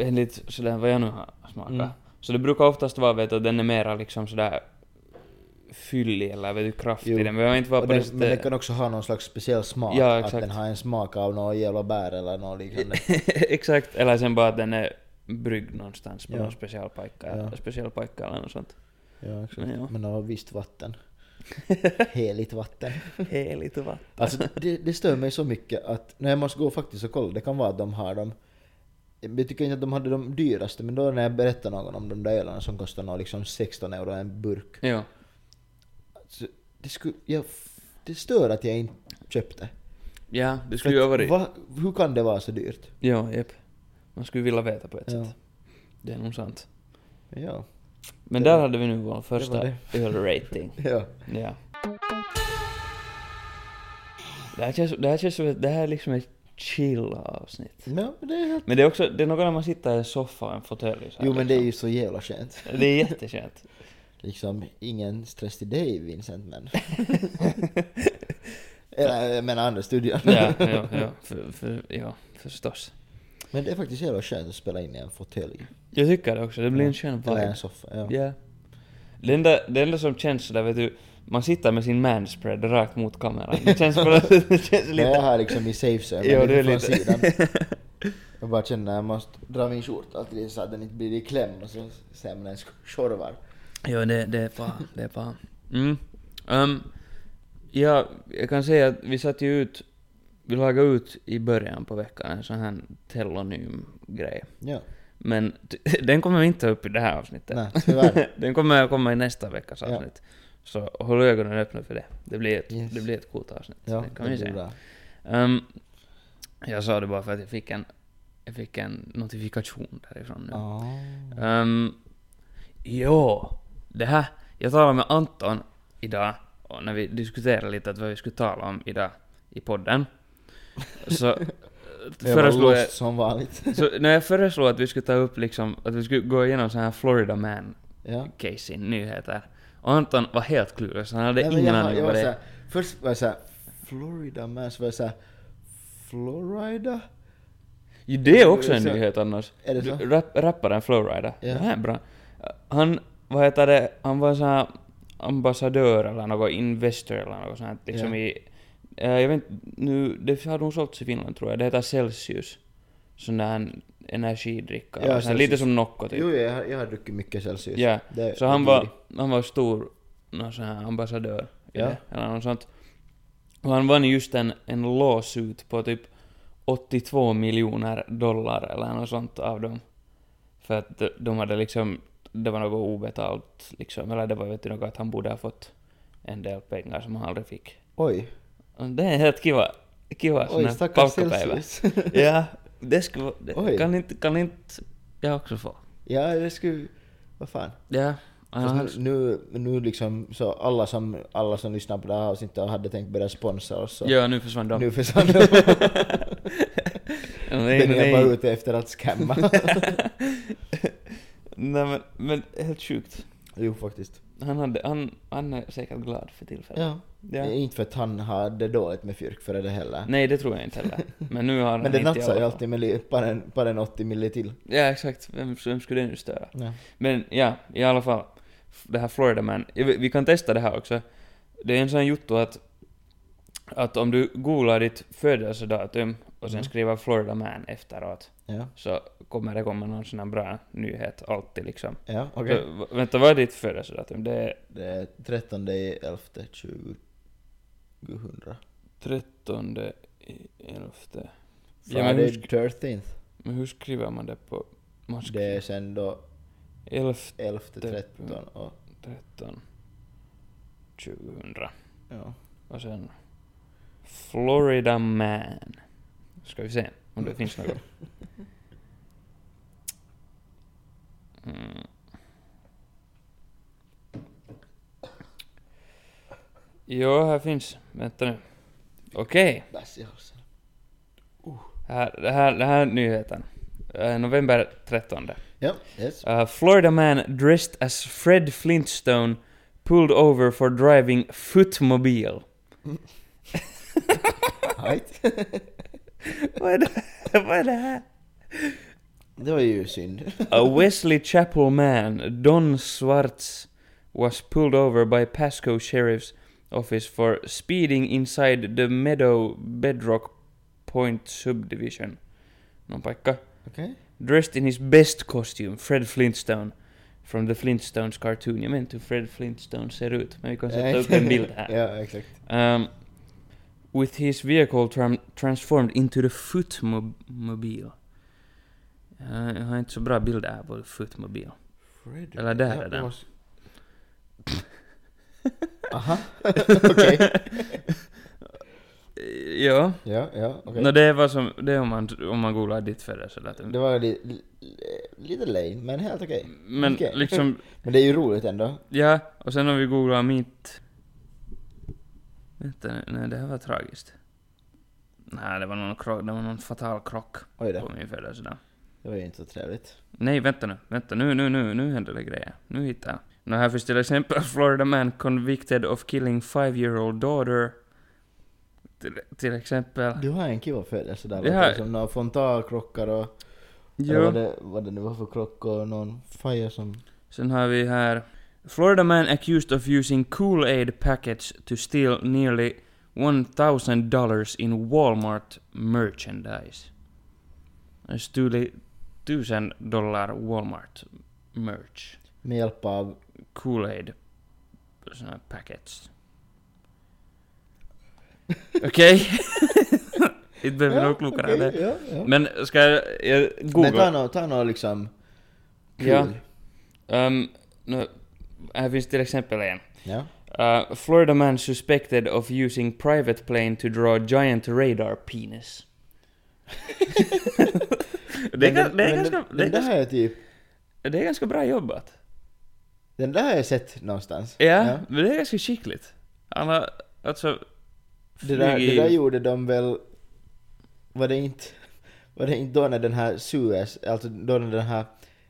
Speaker 2: enligt sådär vad jag nu har smakat,
Speaker 3: Mm.
Speaker 2: så det brukar oftast vara vet, du, att den är mera liksom sådär fyllig eller vet du, kraftig.
Speaker 3: Jo.
Speaker 2: Den behöver inte vara
Speaker 3: Och
Speaker 2: på det
Speaker 3: den, men den
Speaker 2: sättet...
Speaker 3: kan också ha någon slags speciell smak.
Speaker 2: Ja,
Speaker 3: att
Speaker 2: exakt.
Speaker 3: den har en smak av något jävla bär eller något liknande.
Speaker 2: Exakt, eller sen bara att den är bryggd någonstans på
Speaker 3: Ja.
Speaker 2: någon speciell pajka,
Speaker 3: Ja.
Speaker 2: speciell pajka eller något sånt.
Speaker 3: ja, exakt.
Speaker 2: Men ja.
Speaker 3: Men av visst vatten. Heligt vatten.
Speaker 2: Heligt vatten.
Speaker 3: Alltså det, det stör mig så mycket att, när jag måste gå faktiskt och kolla, det kan vara att de har dem. Jag tycker inte att de hade de dyraste, men då när jag berättar någon om de där ölarna som kostar nå liksom 16 euro en burk.
Speaker 2: Ja.
Speaker 3: Så det, skulle, jag, det stör att jag inte köpte.
Speaker 2: ja, det skulle ju ha varit...
Speaker 3: Va, hur kan det vara så dyrt?
Speaker 2: Ja, jep. Man skulle vilja veta på ett
Speaker 3: Ja.
Speaker 2: sätt. Det är nog sant.
Speaker 3: Ja.
Speaker 2: Men
Speaker 3: Det
Speaker 2: där
Speaker 3: var-
Speaker 2: hade vi nu vår första
Speaker 3: det.
Speaker 2: öl-rating.
Speaker 3: ja.
Speaker 2: Ja. Det här känns, det här känns som ett, det här är liksom ett chill avsnitt.
Speaker 3: ja men det är helt...
Speaker 2: Men det är också, det är något när man sitter i en soffa och en fåtölj så här
Speaker 3: Jo men det är
Speaker 2: liksom.
Speaker 3: ju så jävla skönt.
Speaker 2: Det är jättekänt.
Speaker 3: Liksom, ingen stress till dig Vincent men... Eller jag menar andra studion.
Speaker 2: ja, ja, ja, för, för, ja, förstås.
Speaker 3: Men det är faktiskt jävla skönt att spela in i en fåtölj.
Speaker 2: Jag tycker det också, det blir en skön
Speaker 3: Eller
Speaker 2: vibe.
Speaker 3: en soffa. Ja.
Speaker 2: Ja. Det enda, det enda som känns sådär vet du, man sitter med sin manspread rakt mot kameran. Det känns bara, det känns
Speaker 3: Nej, jag
Speaker 2: lite...
Speaker 3: har liksom i safe zone,
Speaker 2: Jo,
Speaker 3: men
Speaker 2: det är
Speaker 3: från
Speaker 2: lite-
Speaker 3: sidan. Jag bara känner att jag måste dra min skjorta alltid så att den inte blir i kläm och så ser man ens tjorvar.
Speaker 2: Jo, det, det är bra. Det är bra. Mm. Ehm, ja, jag kan säga att vi satte ju ut, vi lagade ut i början på veckan en sån här telonym grej.
Speaker 3: Ja.
Speaker 2: Men t- den kommer inte upp i det här avsnittet.
Speaker 3: Nej, tyvärr.
Speaker 2: den kommer att komma i nästa veckas
Speaker 3: Ja.
Speaker 2: avsnitt. Så håll ögonen öppna för det. Det blir ett,
Speaker 3: Yes.
Speaker 2: det blir ett coolt avsnitt.
Speaker 3: Ja,
Speaker 2: det
Speaker 3: det
Speaker 2: kan vi
Speaker 3: blir
Speaker 2: säga.
Speaker 3: bra.
Speaker 2: Ehm, jag sa det bara för att jag fick en, jag fick en notifikation därifrån nu.
Speaker 3: Ja.
Speaker 2: Um, jo, det här. Jag talade med Anton idag, och när vi diskuterade lite att vad vi skulle tala om idag i podden. Så
Speaker 3: Jag var
Speaker 2: föreslog jag,
Speaker 3: lost som vanligt.
Speaker 2: så när jag föreslog att vi skulle ta upp liksom, att vi skulle gå igenom så här Florida man
Speaker 3: Ja.
Speaker 2: case nyheter. Och Anton var helt klurig, så han hade
Speaker 3: Nej, men
Speaker 2: ingen
Speaker 3: jag-
Speaker 2: aning
Speaker 3: jag
Speaker 2: vad
Speaker 3: var
Speaker 2: det
Speaker 3: såhär- Först var jag såhär, Florida man, så var jag såhär, Florida?
Speaker 2: Jo, Det är också en
Speaker 3: Så-
Speaker 2: nyhet annars.
Speaker 3: Är det så?
Speaker 2: Du- Rap, rapparen Flowrider.
Speaker 3: Ja.
Speaker 2: Det här är bra. Han, vad heter det, han var en sån här ambassadör eller något, investor eller något sånt här, liksom
Speaker 3: Ja.
Speaker 2: i... eh, jag vet inte, nu, det har nog sålts i Finland tror jag. Det heter Celsius. Sån där energidricka.
Speaker 3: Ja,
Speaker 2: eller sån här, lite
Speaker 3: Celsius.
Speaker 2: som Nocco typ.
Speaker 3: Jo, jag, har- jag har druckit mycket Celsius.
Speaker 2: Ja,
Speaker 3: Det-
Speaker 2: så han
Speaker 3: det-
Speaker 2: var, han var stor någon sån här ambassadör i
Speaker 3: Ja.
Speaker 2: det, eller något sånt. Och han vann just en, en lawsuit på typ 82 miljoner dollar eller något sånt av dem. För att de- de hade liksom, det var något obetalt liksom, eller det var vet du något att han borde ha fått en del pengar som han aldrig fick.
Speaker 3: Oj,
Speaker 2: Och det är helt kiva, kiva sån
Speaker 3: oj
Speaker 2: här
Speaker 3: stackars
Speaker 2: palkkapäivä.
Speaker 3: Celsius.
Speaker 2: Ja, det skulle vara-
Speaker 3: Oj.
Speaker 2: det kan inte, kan inte jag också få.
Speaker 3: ja, det skulle, vad fan.
Speaker 2: Ja,
Speaker 3: Fast
Speaker 2: han-
Speaker 3: nu, nu, nu liksom, så alla som, alla som lyssnar på det här avsnittet och hade tänkt börja sponsra oss så
Speaker 2: ja nu försvann de.
Speaker 3: nu försvann de.
Speaker 2: nej,
Speaker 3: Den är
Speaker 2: nej.
Speaker 3: bara ute efter att skämma.
Speaker 2: nej men, men helt sjukt.
Speaker 3: Jo, faktiskt.
Speaker 2: Han, hade, han, han är säkert glad för tillfället.
Speaker 3: Ja.
Speaker 2: Ja.
Speaker 3: Inte för att han hade dåligt med fyrk före det heller.
Speaker 2: Nej, det tror jag inte heller. Men nu har han
Speaker 3: Men det
Speaker 2: inte i
Speaker 3: natsar ju
Speaker 2: alla fall.
Speaker 3: alltid med li- par en, par en 80 milli till.
Speaker 2: Ja, exakt. Vem, vem skulle det nu störa?
Speaker 3: Ja.
Speaker 2: Men ja, i alla fall. f- Det här Florida Man. Ja, Vi vi kan testa det här också. Det är en sån jotto att, att om du googlar ditt födelsedatum och sen
Speaker 3: Mm.
Speaker 2: skriver Florida Man efteråt
Speaker 3: Ja,
Speaker 2: så kommer det komma någon sån här bra nyhet alltid liksom.
Speaker 3: ja okej.
Speaker 2: Så, v- vänta, vad är ditt födelsedatum? Det är
Speaker 3: Det är 13 i 11 2000.
Speaker 2: 13 i 11. Ja, men hur,
Speaker 3: Friday
Speaker 2: sk-
Speaker 3: 13th.
Speaker 2: men hur skriver man det på... Man
Speaker 3: Det
Speaker 2: skriver
Speaker 3: är sen då
Speaker 2: 11,
Speaker 3: 11, 13 och...
Speaker 2: 13, 2000.
Speaker 3: Ja.
Speaker 2: Och sen Florida Man. Ska vi se om det finns något. Mm. Jo, här finns. Vänta nu. Okej.
Speaker 3: Bärs i halsen.
Speaker 2: Här, det här, det här är nyheten. Eh, November 13.
Speaker 3: Ja, yes.
Speaker 2: Uh, Florida man dressed as Fred Flintstone pulled over for driving footmobile.
Speaker 3: Right.
Speaker 2: Vad är det, vad är det här?
Speaker 3: Det var ju synd.
Speaker 2: A Wesley Chapel man, Don Swartz, was pulled over by Pasco Sheriff's Office for speeding inside the Meadow Bedrock Point subdivision. Någon paikka.
Speaker 3: Okej.
Speaker 2: Dressed in his best costume, Fred Flintstone. From the Flintstones cartoon. Jag vet inte hur Fred Flintstone ser ut, men vi kan sätta upp en bild här.
Speaker 3: ja, exakt.
Speaker 2: Um, with his vehicle tram- transformed into the footmobile. Uh, jag har inte så bra bilder här på footmobile.
Speaker 3: Fred.
Speaker 2: Eller där är den.
Speaker 3: Aha. Okej.
Speaker 2: Eh, Ja.
Speaker 3: Ja, ja, okej.
Speaker 2: Nå, det är vad som, det är om man, om man googlar ditt födelsedatum.
Speaker 3: Det var li, li, lite lame, men helt okej.
Speaker 2: Men
Speaker 3: Okej.
Speaker 2: liksom,
Speaker 3: Men det är ju roligt ändå.
Speaker 2: ja, och sen om vi googlar mitt... Vänta nu, nej det här var tragiskt. Nej, det var någon krock, det var någon fatal krock
Speaker 3: Oj då.
Speaker 2: på min födelsedag.
Speaker 3: Det var ju inte så trevligt.
Speaker 2: Nej, vänta nu. Vänta nu, nu, nu, nu händer det grejer. Nu hittar jag. Nå, här finns till exempel Florida man convicted of killing five-year-old daughter. Till, till exempel.
Speaker 3: Du har en kiva födelsedag.
Speaker 2: Det
Speaker 3: Det
Speaker 2: här-
Speaker 3: här... Som några fontankrockar och... Eller vad det, vad det nu var för klockor och någon fire som...
Speaker 2: Sen har vi här. Florida man accused of using Kool-Aid packets to steal nearly $1,000 in Walmart merchandise. Han stulit 1000 dollar Walmart merch.
Speaker 3: Med hjälp av...
Speaker 2: Kool-Aid såna här packets. Okej? Inte behöver vi nog klokare än det.
Speaker 3: ja, ja.
Speaker 2: Men ska jag, jag
Speaker 3: Men ta
Speaker 2: googla?
Speaker 3: något, ta något liksom... Kul.
Speaker 2: Ja. Um, no, här finns till exempel en.
Speaker 3: ja.
Speaker 2: Uh, Florida man suspected of using private plane to draw giant radar penis. det, är,
Speaker 3: Men
Speaker 2: ga-
Speaker 3: den-
Speaker 2: det, är
Speaker 3: men
Speaker 2: ganska,
Speaker 3: den-
Speaker 2: det, är
Speaker 3: Den
Speaker 2: ganska,
Speaker 3: där är typ...
Speaker 2: det är ganska bra jobbat.
Speaker 3: Den där har jag sett någonstans.
Speaker 2: Ja, men det är ganska skickligt. Han har alltså...
Speaker 3: Det där, det
Speaker 2: flugit-
Speaker 3: där gjorde de väl... Var det inte... Var det inte då när den här Suez, alltså då när den här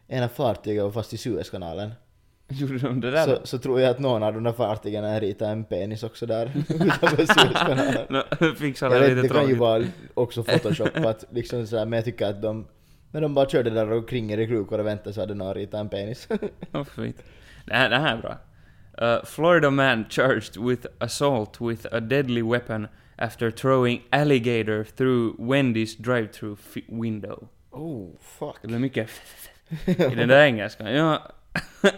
Speaker 3: ena fartyget var fast i Suezkanalen?
Speaker 2: Gjorde de det där?
Speaker 3: Så, så tror jag att någon av de där fartygen har ritat en penis också där utanför Suezkanalen.
Speaker 2: no, fixar
Speaker 3: Jag
Speaker 2: det
Speaker 3: vet,
Speaker 2: lite
Speaker 3: det kan ju
Speaker 2: tråkigt.
Speaker 3: vara också photoshopat liksom sådär, men jag tycker att de... Men de bara körde där och kringade i krukor och väntade så hade någon ritat en penis.
Speaker 2: Åh, fint. Det här, det här är bra. Uh, Florida man charged with assault with a deadly weapon after throwing alligator through Wendy's drive-through fi- window.
Speaker 3: Oh, fuck.
Speaker 2: Det blir mycket i den där engelskan. Ja,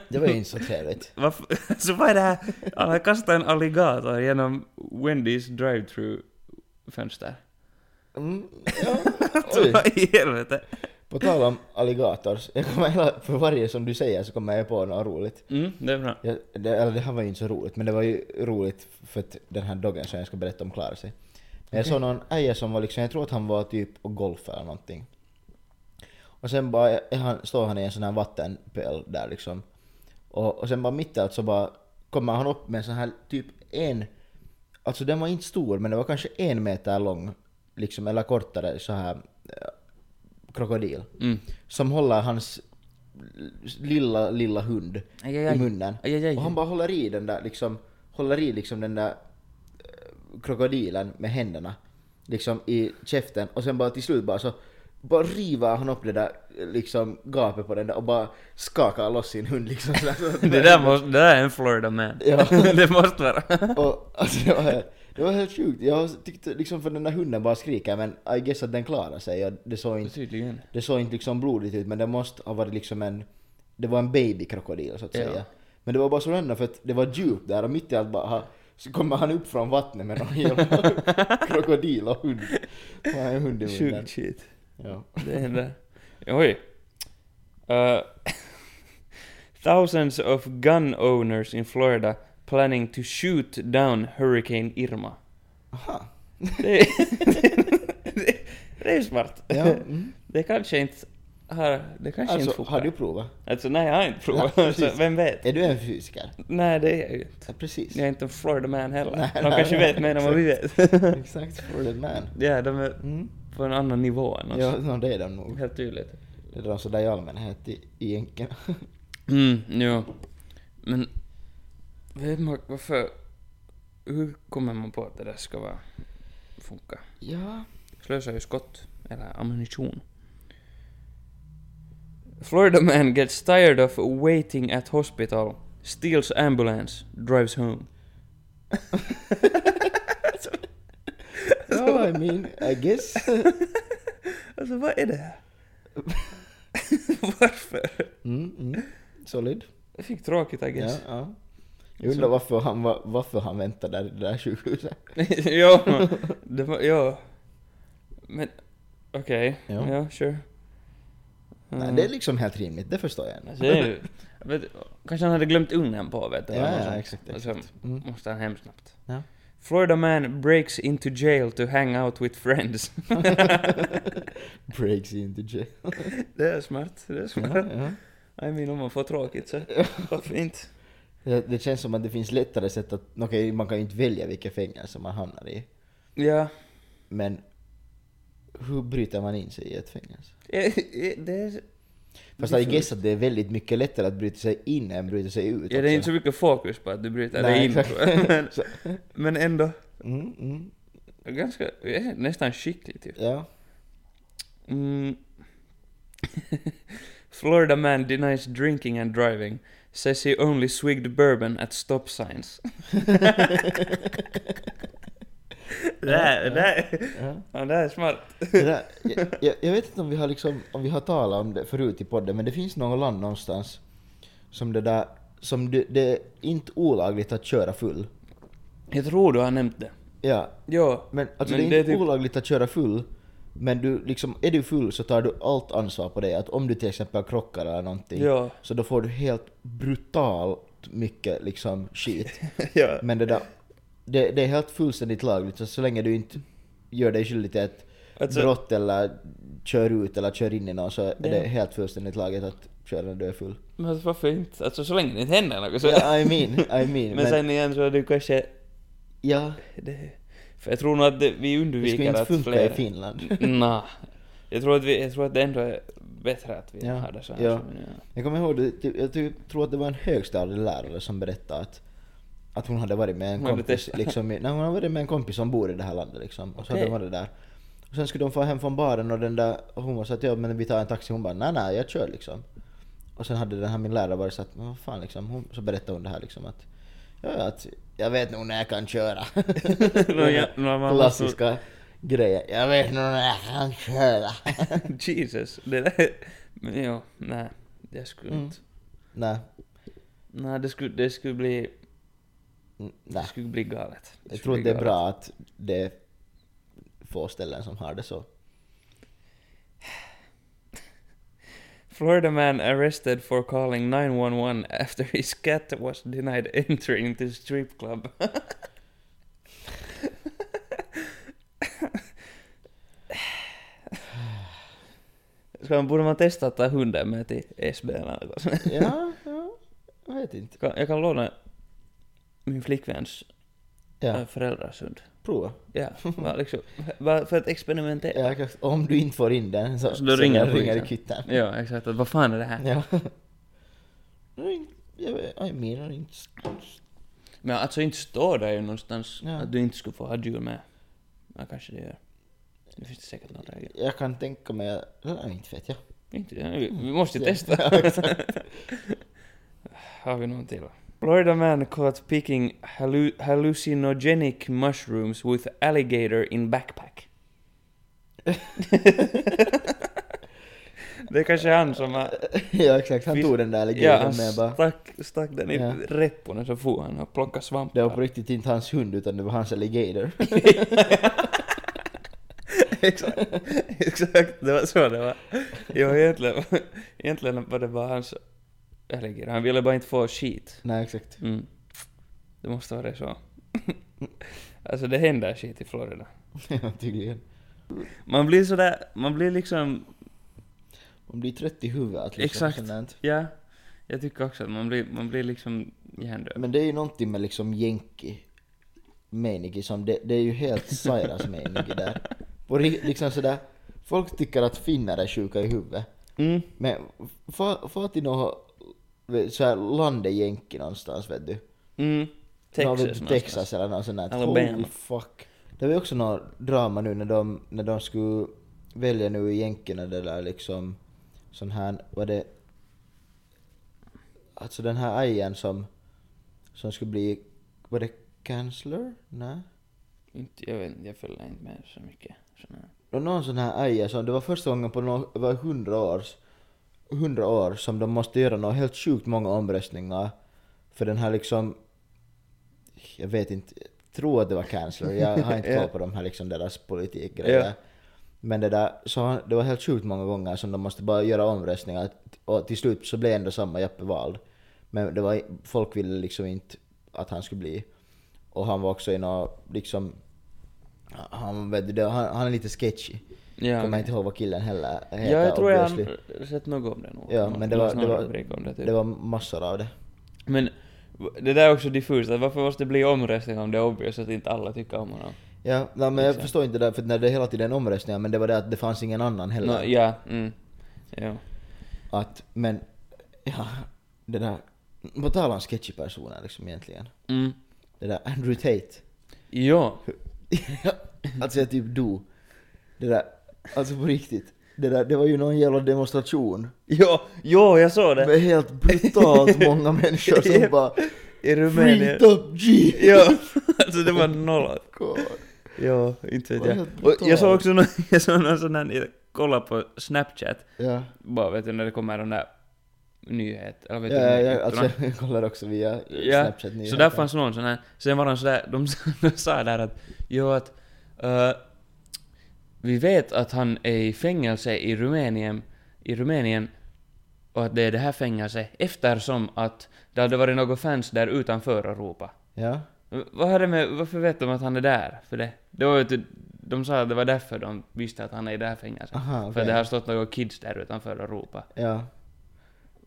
Speaker 3: Det var ju inte så trevligt.
Speaker 2: varför, så vad är det här? Han har kastat en alligator genom Wendy's drive-through fönster.
Speaker 3: Mm, ja. Oj.
Speaker 2: Vad i helvete?
Speaker 3: På tal om alligators, jag kommer hela, för varje som du säger så kommer jag på något roligt.
Speaker 2: Mm, det är bra.
Speaker 3: Jag, det, eller det här var ju inte så roligt, men det var ju roligt för att den här doggen som jag ska berätta om klarade sig. Men jag såg någon äja som var liksom, jag tror att han var typ och golfade eller någonting. Och sen bara är han, står han i en sån här vattenpöl där liksom. Och, och sen bara mitt i allt så bara kommer han upp med en sån här typ en... Alltså den var inte stor men den var kanske en meter lång. Liksom, eller kortare så här eh, krokodil.
Speaker 2: Mm.
Speaker 3: Som håller hans lilla, lilla hund
Speaker 2: Aj, aj, aj.
Speaker 3: i munnen.
Speaker 2: Aj, aj, aj.
Speaker 3: Och han bara håller i den där liksom, håller i liksom den där eh, krokodilen med händerna. Liksom i käften och sen bara till slut bara så bara river han upp det där eh, liksom gapet på den där och bara skakar loss sin hund liksom sådär. Så att-
Speaker 2: Det där, måste, det där är en Florida man.
Speaker 3: Ja.
Speaker 2: det måste vara.
Speaker 3: Och alltså det var, helt- det var helt sjukt. Jag tyckte liksom för den där hunden bara skriker men I guess att den klarar sig. Och det såg inte,
Speaker 2: Tydligen.
Speaker 3: det såg inte liksom blodigt ut men det måste ha varit liksom en... Det var en babykrokodil så att
Speaker 2: Ja.
Speaker 3: säga. Men det var bara så random för att det var djup där och mitt i allt bara ha, så kommer han upp från vattnet med någon jävla krokodil och hund. Och han har en hund i munnen.
Speaker 2: Sjukt shit.
Speaker 3: Ja.
Speaker 2: Det händer. Oj. Uh, thousands of gun owners in Florida planning to shoot down Hurricane Irma.
Speaker 3: Aha.
Speaker 2: Det är, det, det är smart.
Speaker 3: Ja. Mm.
Speaker 2: Det kanske inte har... Det kanske inte
Speaker 3: Alltså,
Speaker 2: funkar.
Speaker 3: har du provat?
Speaker 2: Alltså nej, jag har inte provat.
Speaker 3: Nej,
Speaker 2: alltså,
Speaker 3: precis.
Speaker 2: vem vet?
Speaker 3: Är du en fysiker?
Speaker 2: Nej, det er är jag ju inte.
Speaker 3: Ja, precis.
Speaker 2: Jag är inte en Florida man heller.
Speaker 3: Nej,
Speaker 2: de
Speaker 3: nej,
Speaker 2: kanske
Speaker 3: nej,
Speaker 2: vet mer än vad vi vet.
Speaker 3: Exakt, for the man.
Speaker 2: ja, de är
Speaker 3: Mm.
Speaker 2: på en annan nivå än oss.
Speaker 3: Ja, no, det är de nog.
Speaker 2: Helt tydligt.
Speaker 3: Det är de sådär i allmänhet i, i jänkarna.
Speaker 2: Mm, jo. Men... Vem har, varför... Hur kommer man på att det där ska vara... funka?
Speaker 3: ja.
Speaker 2: Slösar ju skott, eller ammunition. Florida man gets tired of waiting at hospital, steals ambulance, drives home.
Speaker 3: No, I mean, I guess.
Speaker 2: Alltså vad är det här? varför?
Speaker 3: Mm, mm. Solid.
Speaker 2: Jag fick tråkigt I guess.
Speaker 3: Ja, ja. Jag undrar varför han, var, varför han väntar där i det där sjukhuset.
Speaker 2: ja, det var, ja. Men, okej.
Speaker 3: Ja.
Speaker 2: Ja. sure.
Speaker 3: Nej, det är liksom helt rimligt, det förstår jag. ändå.
Speaker 2: Alltså, Mm. det är ju- jag vet, kanske han hade glömt ugnen på, vet du.
Speaker 3: Ja,
Speaker 2: eller något
Speaker 3: ja,
Speaker 2: sånt.
Speaker 3: exakt,
Speaker 2: Och
Speaker 3: exakt.
Speaker 2: så
Speaker 3: Mm.
Speaker 2: måste han hem snabbt.
Speaker 3: Ja.
Speaker 2: Florida man breaks into jail to hang out with friends.
Speaker 3: Breaks into jail.
Speaker 2: det är smart, det är smart.
Speaker 3: Ja, ja.
Speaker 2: I mean, om man får tråkigt så varför inte?
Speaker 3: Det, det känns som att det finns lättare sätt att... Okej, man kan ju inte välja vilka fängelse man hamnar i.
Speaker 2: Ja,
Speaker 3: Men hur bryter man in sig i ett fängelse?
Speaker 2: Eh, eh, det är...
Speaker 3: Fast I guess att det är väldigt mycket lättare att bryta sig in än bryta sig ut.
Speaker 2: Ja, det är inte
Speaker 3: också.
Speaker 2: så mycket fokus på att du bryter
Speaker 3: Nej,
Speaker 2: dig in.
Speaker 3: exakt.
Speaker 2: tror jag. Men,
Speaker 3: Så-
Speaker 2: men ändå,
Speaker 3: Mm, mm.
Speaker 2: ganska, eh, nästan skickligt ju.
Speaker 3: Ja.
Speaker 2: Mm. Florida man denies drinking and driving. Says he only swigged bourbon at stop signs. det här, det här,
Speaker 3: ja.
Speaker 2: ja, det här är smart.
Speaker 3: Det där, jag, jag, jag vet inte om vi, har liksom, om vi har talat om det förut i podden, men det finns något land någonstans som det där, som det, det är inte olagligt att köra full.
Speaker 2: Jag tror du har nämnt det.
Speaker 3: Ja,
Speaker 2: Ja,
Speaker 3: men alltså
Speaker 2: Men
Speaker 3: det
Speaker 2: det
Speaker 3: är
Speaker 2: är
Speaker 3: inte
Speaker 2: typ-
Speaker 3: olagligt att köra full, men du liksom, är du full så tar du allt ansvar på dig. Att om du till exempel krockar eller någonting,
Speaker 2: ja,
Speaker 3: så då får du helt brutalt mycket liksom skit.
Speaker 2: ja.
Speaker 3: Men det där, det, det är helt fullständigt lagligt, så, så länge du inte gör dig skyldig till ett
Speaker 2: Alltså-
Speaker 3: brott eller kör ut eller kör in i någon så är det
Speaker 2: Ja.
Speaker 3: helt fullständigt lagligt att köra när du är full.
Speaker 2: Men alltså, varför inte? Alltså så länge det inte händer något så.
Speaker 3: Ja, I mean, I mean.
Speaker 2: men,
Speaker 3: men,
Speaker 2: sen igen så är det kanske...
Speaker 3: ja,
Speaker 2: Det, för jag tror nog att det, vi
Speaker 3: det skulle
Speaker 2: undviker
Speaker 3: inte
Speaker 2: att
Speaker 3: funka
Speaker 2: fler...
Speaker 3: i Finland.
Speaker 2: Nja. Jag tror att vi, jag tror att det ändå är bättre att vi
Speaker 3: Ja,
Speaker 2: har det så här.
Speaker 3: ja.
Speaker 2: som vi gör.
Speaker 3: Jag kommer ihåg, det, typ, jag typ, tror att det var en högstadielärare som berättade att, att hon hade varit med en
Speaker 2: Hon hade
Speaker 3: kompis,
Speaker 2: testat.
Speaker 3: liksom, i- nej, hon hade varit med en kompis som bor i det här landet liksom. Och så hade
Speaker 2: Okej.
Speaker 3: de varit där. Och sen skulle de få hem från baren och den där, och hon var så att ja men vi tar en taxi, hon bara nej nej jag kör liksom. Och sen hade den här min lärare varit så att, men vad fan liksom, hon, så berättade hon det här liksom att, ja ja, att jag vet nog när jag kan köra.
Speaker 2: Nå, ja, nå, man måste-
Speaker 3: Klassiska grejer, jag vet nog när jag kan köra.
Speaker 2: Jesus, det där... Men jo, nej. Jag skulle
Speaker 3: Mm.
Speaker 2: inte...
Speaker 3: nej,
Speaker 2: Nej, det skulle, det skulle bli...
Speaker 3: n- Mm, nej.
Speaker 2: Det skulle bli galet. Det
Speaker 3: Jag
Speaker 2: skulle
Speaker 3: tror
Speaker 2: bli
Speaker 3: att det är
Speaker 2: galet.
Speaker 3: bra att det är få ställen som har det så.
Speaker 2: Florida man arrested for calling 911 after his cat was denied entry into strip club. Ska man, borde man testa att ta hunden med till SB eller något sånt?
Speaker 3: Ja, ja jag vet inte.
Speaker 2: Jag kan- Jag kan låna min flickväns
Speaker 3: Ja,
Speaker 2: äh, föräldrars hund.
Speaker 3: prova.
Speaker 2: Ja, bara liksom, bara för att experimentera.
Speaker 3: Ja, exakt. om du inte får in den så,
Speaker 2: Så då ringer
Speaker 3: jag
Speaker 2: polisen.
Speaker 3: ringer i kvittan.
Speaker 2: Ja, exakt. Att, vad fan är det här?
Speaker 3: Ja. Ring, jag vet, jag menar inte.
Speaker 2: Men alltså inte står det ju någonstans
Speaker 3: Ja.
Speaker 2: att du inte skulle få ha djur med. Ja, kanske det gör. Det finns det säkert någon regel.
Speaker 3: Jag kan tänka mig, nej, inte vet jag.
Speaker 2: Inte det. Vi, vi måste ju
Speaker 3: Ja,
Speaker 2: testa. Har vi någon till? Florida man caught picking hallu- hallucinogenic mushrooms with alligator in backpack. det är kanske han som har...
Speaker 3: ja exakt, han
Speaker 2: Fisk-
Speaker 3: tog den där
Speaker 2: Ja,
Speaker 3: legionen
Speaker 2: han
Speaker 3: med bara.
Speaker 2: stack, stack den i
Speaker 3: Ja.
Speaker 2: repon och så for han och plockade
Speaker 3: Det var på
Speaker 2: svampar.
Speaker 3: riktigt inte hans hund utan det var hans alligator.
Speaker 2: exakt, exakt, det var så det var. Jo, egentligen, egentligen var det bara hans alligator. Han ville bara inte få skit.
Speaker 3: nej exakt.
Speaker 2: Mm. Det måste vara det så. alltså det händer shit i Florida.
Speaker 3: Ja, Tydligen.
Speaker 2: Man blir sådär, man blir liksom,
Speaker 3: Man blir trött i huvudet. Liksom,
Speaker 2: Exakt.
Speaker 3: sånt där.
Speaker 2: ja. Jag tycker också att man blir, man blir liksom hjärndöd.
Speaker 3: Men det är ju någonting med liksom jänki menigi som det, det är ju helt sairas menigi där. Och ri- liksom sådär, folk tycker att finnar är sjuka i huvudet.
Speaker 2: Mm.
Speaker 3: Men få få till något så här landejänki någonstans vet du.
Speaker 2: Mm.
Speaker 3: Nå,
Speaker 2: Texas
Speaker 3: vet du,
Speaker 2: någonstans.
Speaker 3: Texas eller något sånt där.
Speaker 2: Alabama.
Speaker 3: Holy fuck. Det var ju också något drama nu när de, när de skulle välja nu i jänkerna det där liksom sån här, var det Alltså den här ajan som, som skulle bli, var det kansler? Nej?
Speaker 2: Inte, jag vet inte, jag följer inte med så mycket. Såna.
Speaker 3: Det var någon sån här aja som, det var första gången på nå- över hundra år, hundra år som de måste göra något helt sjukt många omröstningar för den här liksom, jag vet inte, jag tror att det var kansler, jag har inte koll på de här liksom deras politikgrejer.
Speaker 2: Ja.
Speaker 3: Men det där, så han- det var helt sjukt många gånger som de måste bara göra omröstningar och till slut så blev ändå samma Jappe vald. Men det var, folk ville liksom inte att han skulle bli. Och han var också i något, liksom, han, vet du, det- han, han är lite sketchy.
Speaker 2: Ja,
Speaker 3: Kommer
Speaker 2: okej.
Speaker 3: inte ihåg vad killen heller
Speaker 2: Ja,
Speaker 3: heter.
Speaker 2: jag tror jag
Speaker 3: obviously.
Speaker 2: har sett något om det nog.
Speaker 3: Ja,
Speaker 2: Nå-
Speaker 3: men det var,
Speaker 2: någon
Speaker 3: det,
Speaker 2: rubrik om
Speaker 3: var,
Speaker 2: det, typ.
Speaker 3: det var massor av det.
Speaker 2: Men det där är också diffust, att varför måste det bli omröstning om det är obvious att inte alla tycker om honom?
Speaker 3: Ja, nej, men jag förstår inte det där, för när det hela tiden är omröstningar, men det var det att det fanns ingen annan heller.
Speaker 2: Nå, ja, mm. Ja.
Speaker 3: Att, men, ja, det där. På tal om sketchy personer liksom egentligen.
Speaker 2: Mm.
Speaker 3: Det där Andrew Tate.
Speaker 2: Ja.
Speaker 3: alltså jag typ dog. Det där, alltså på riktigt. Det där, det var ju någon jävla demonstration.
Speaker 2: Ja, ja, jag såg det.
Speaker 3: Med helt brutalt många människor som
Speaker 2: Japp.
Speaker 3: bara
Speaker 2: I Rumänien.
Speaker 3: Freed up G!
Speaker 2: Ja, alltså det var noll.
Speaker 3: God.
Speaker 2: Ja, inte vet
Speaker 3: Vad
Speaker 2: jag.
Speaker 3: helt
Speaker 2: Och jag såg
Speaker 3: brutalt.
Speaker 2: också någon, jag såg någon sån här, jag kollade på Snapchat,
Speaker 3: Ja.
Speaker 2: bara vet du när det kommer de där nyhet, eller vet
Speaker 3: Ja,
Speaker 2: du,
Speaker 3: ja,
Speaker 2: nyheterna.
Speaker 3: ja, alltså jag kollar också via
Speaker 2: ja,
Speaker 3: Snapchat
Speaker 2: så där
Speaker 3: nyheter.
Speaker 2: fanns någon sån här, sen var han sådär, de, de sa där att, jo att, eh, vi vet att han är i fängelse i Rumänien, i Rumänien, och att det är det här fängelset, eftersom att det hade varit några fans där utanför och ropa.
Speaker 3: Ja.
Speaker 2: Vad har det med, varför vet de att han är där? För det, det var ju att de sa att det var därför de visste att han är i det här fängelset.
Speaker 3: Aha, Ah, okej.
Speaker 2: För det har stått några kids där utanför Eh, och ropat.
Speaker 3: Ja.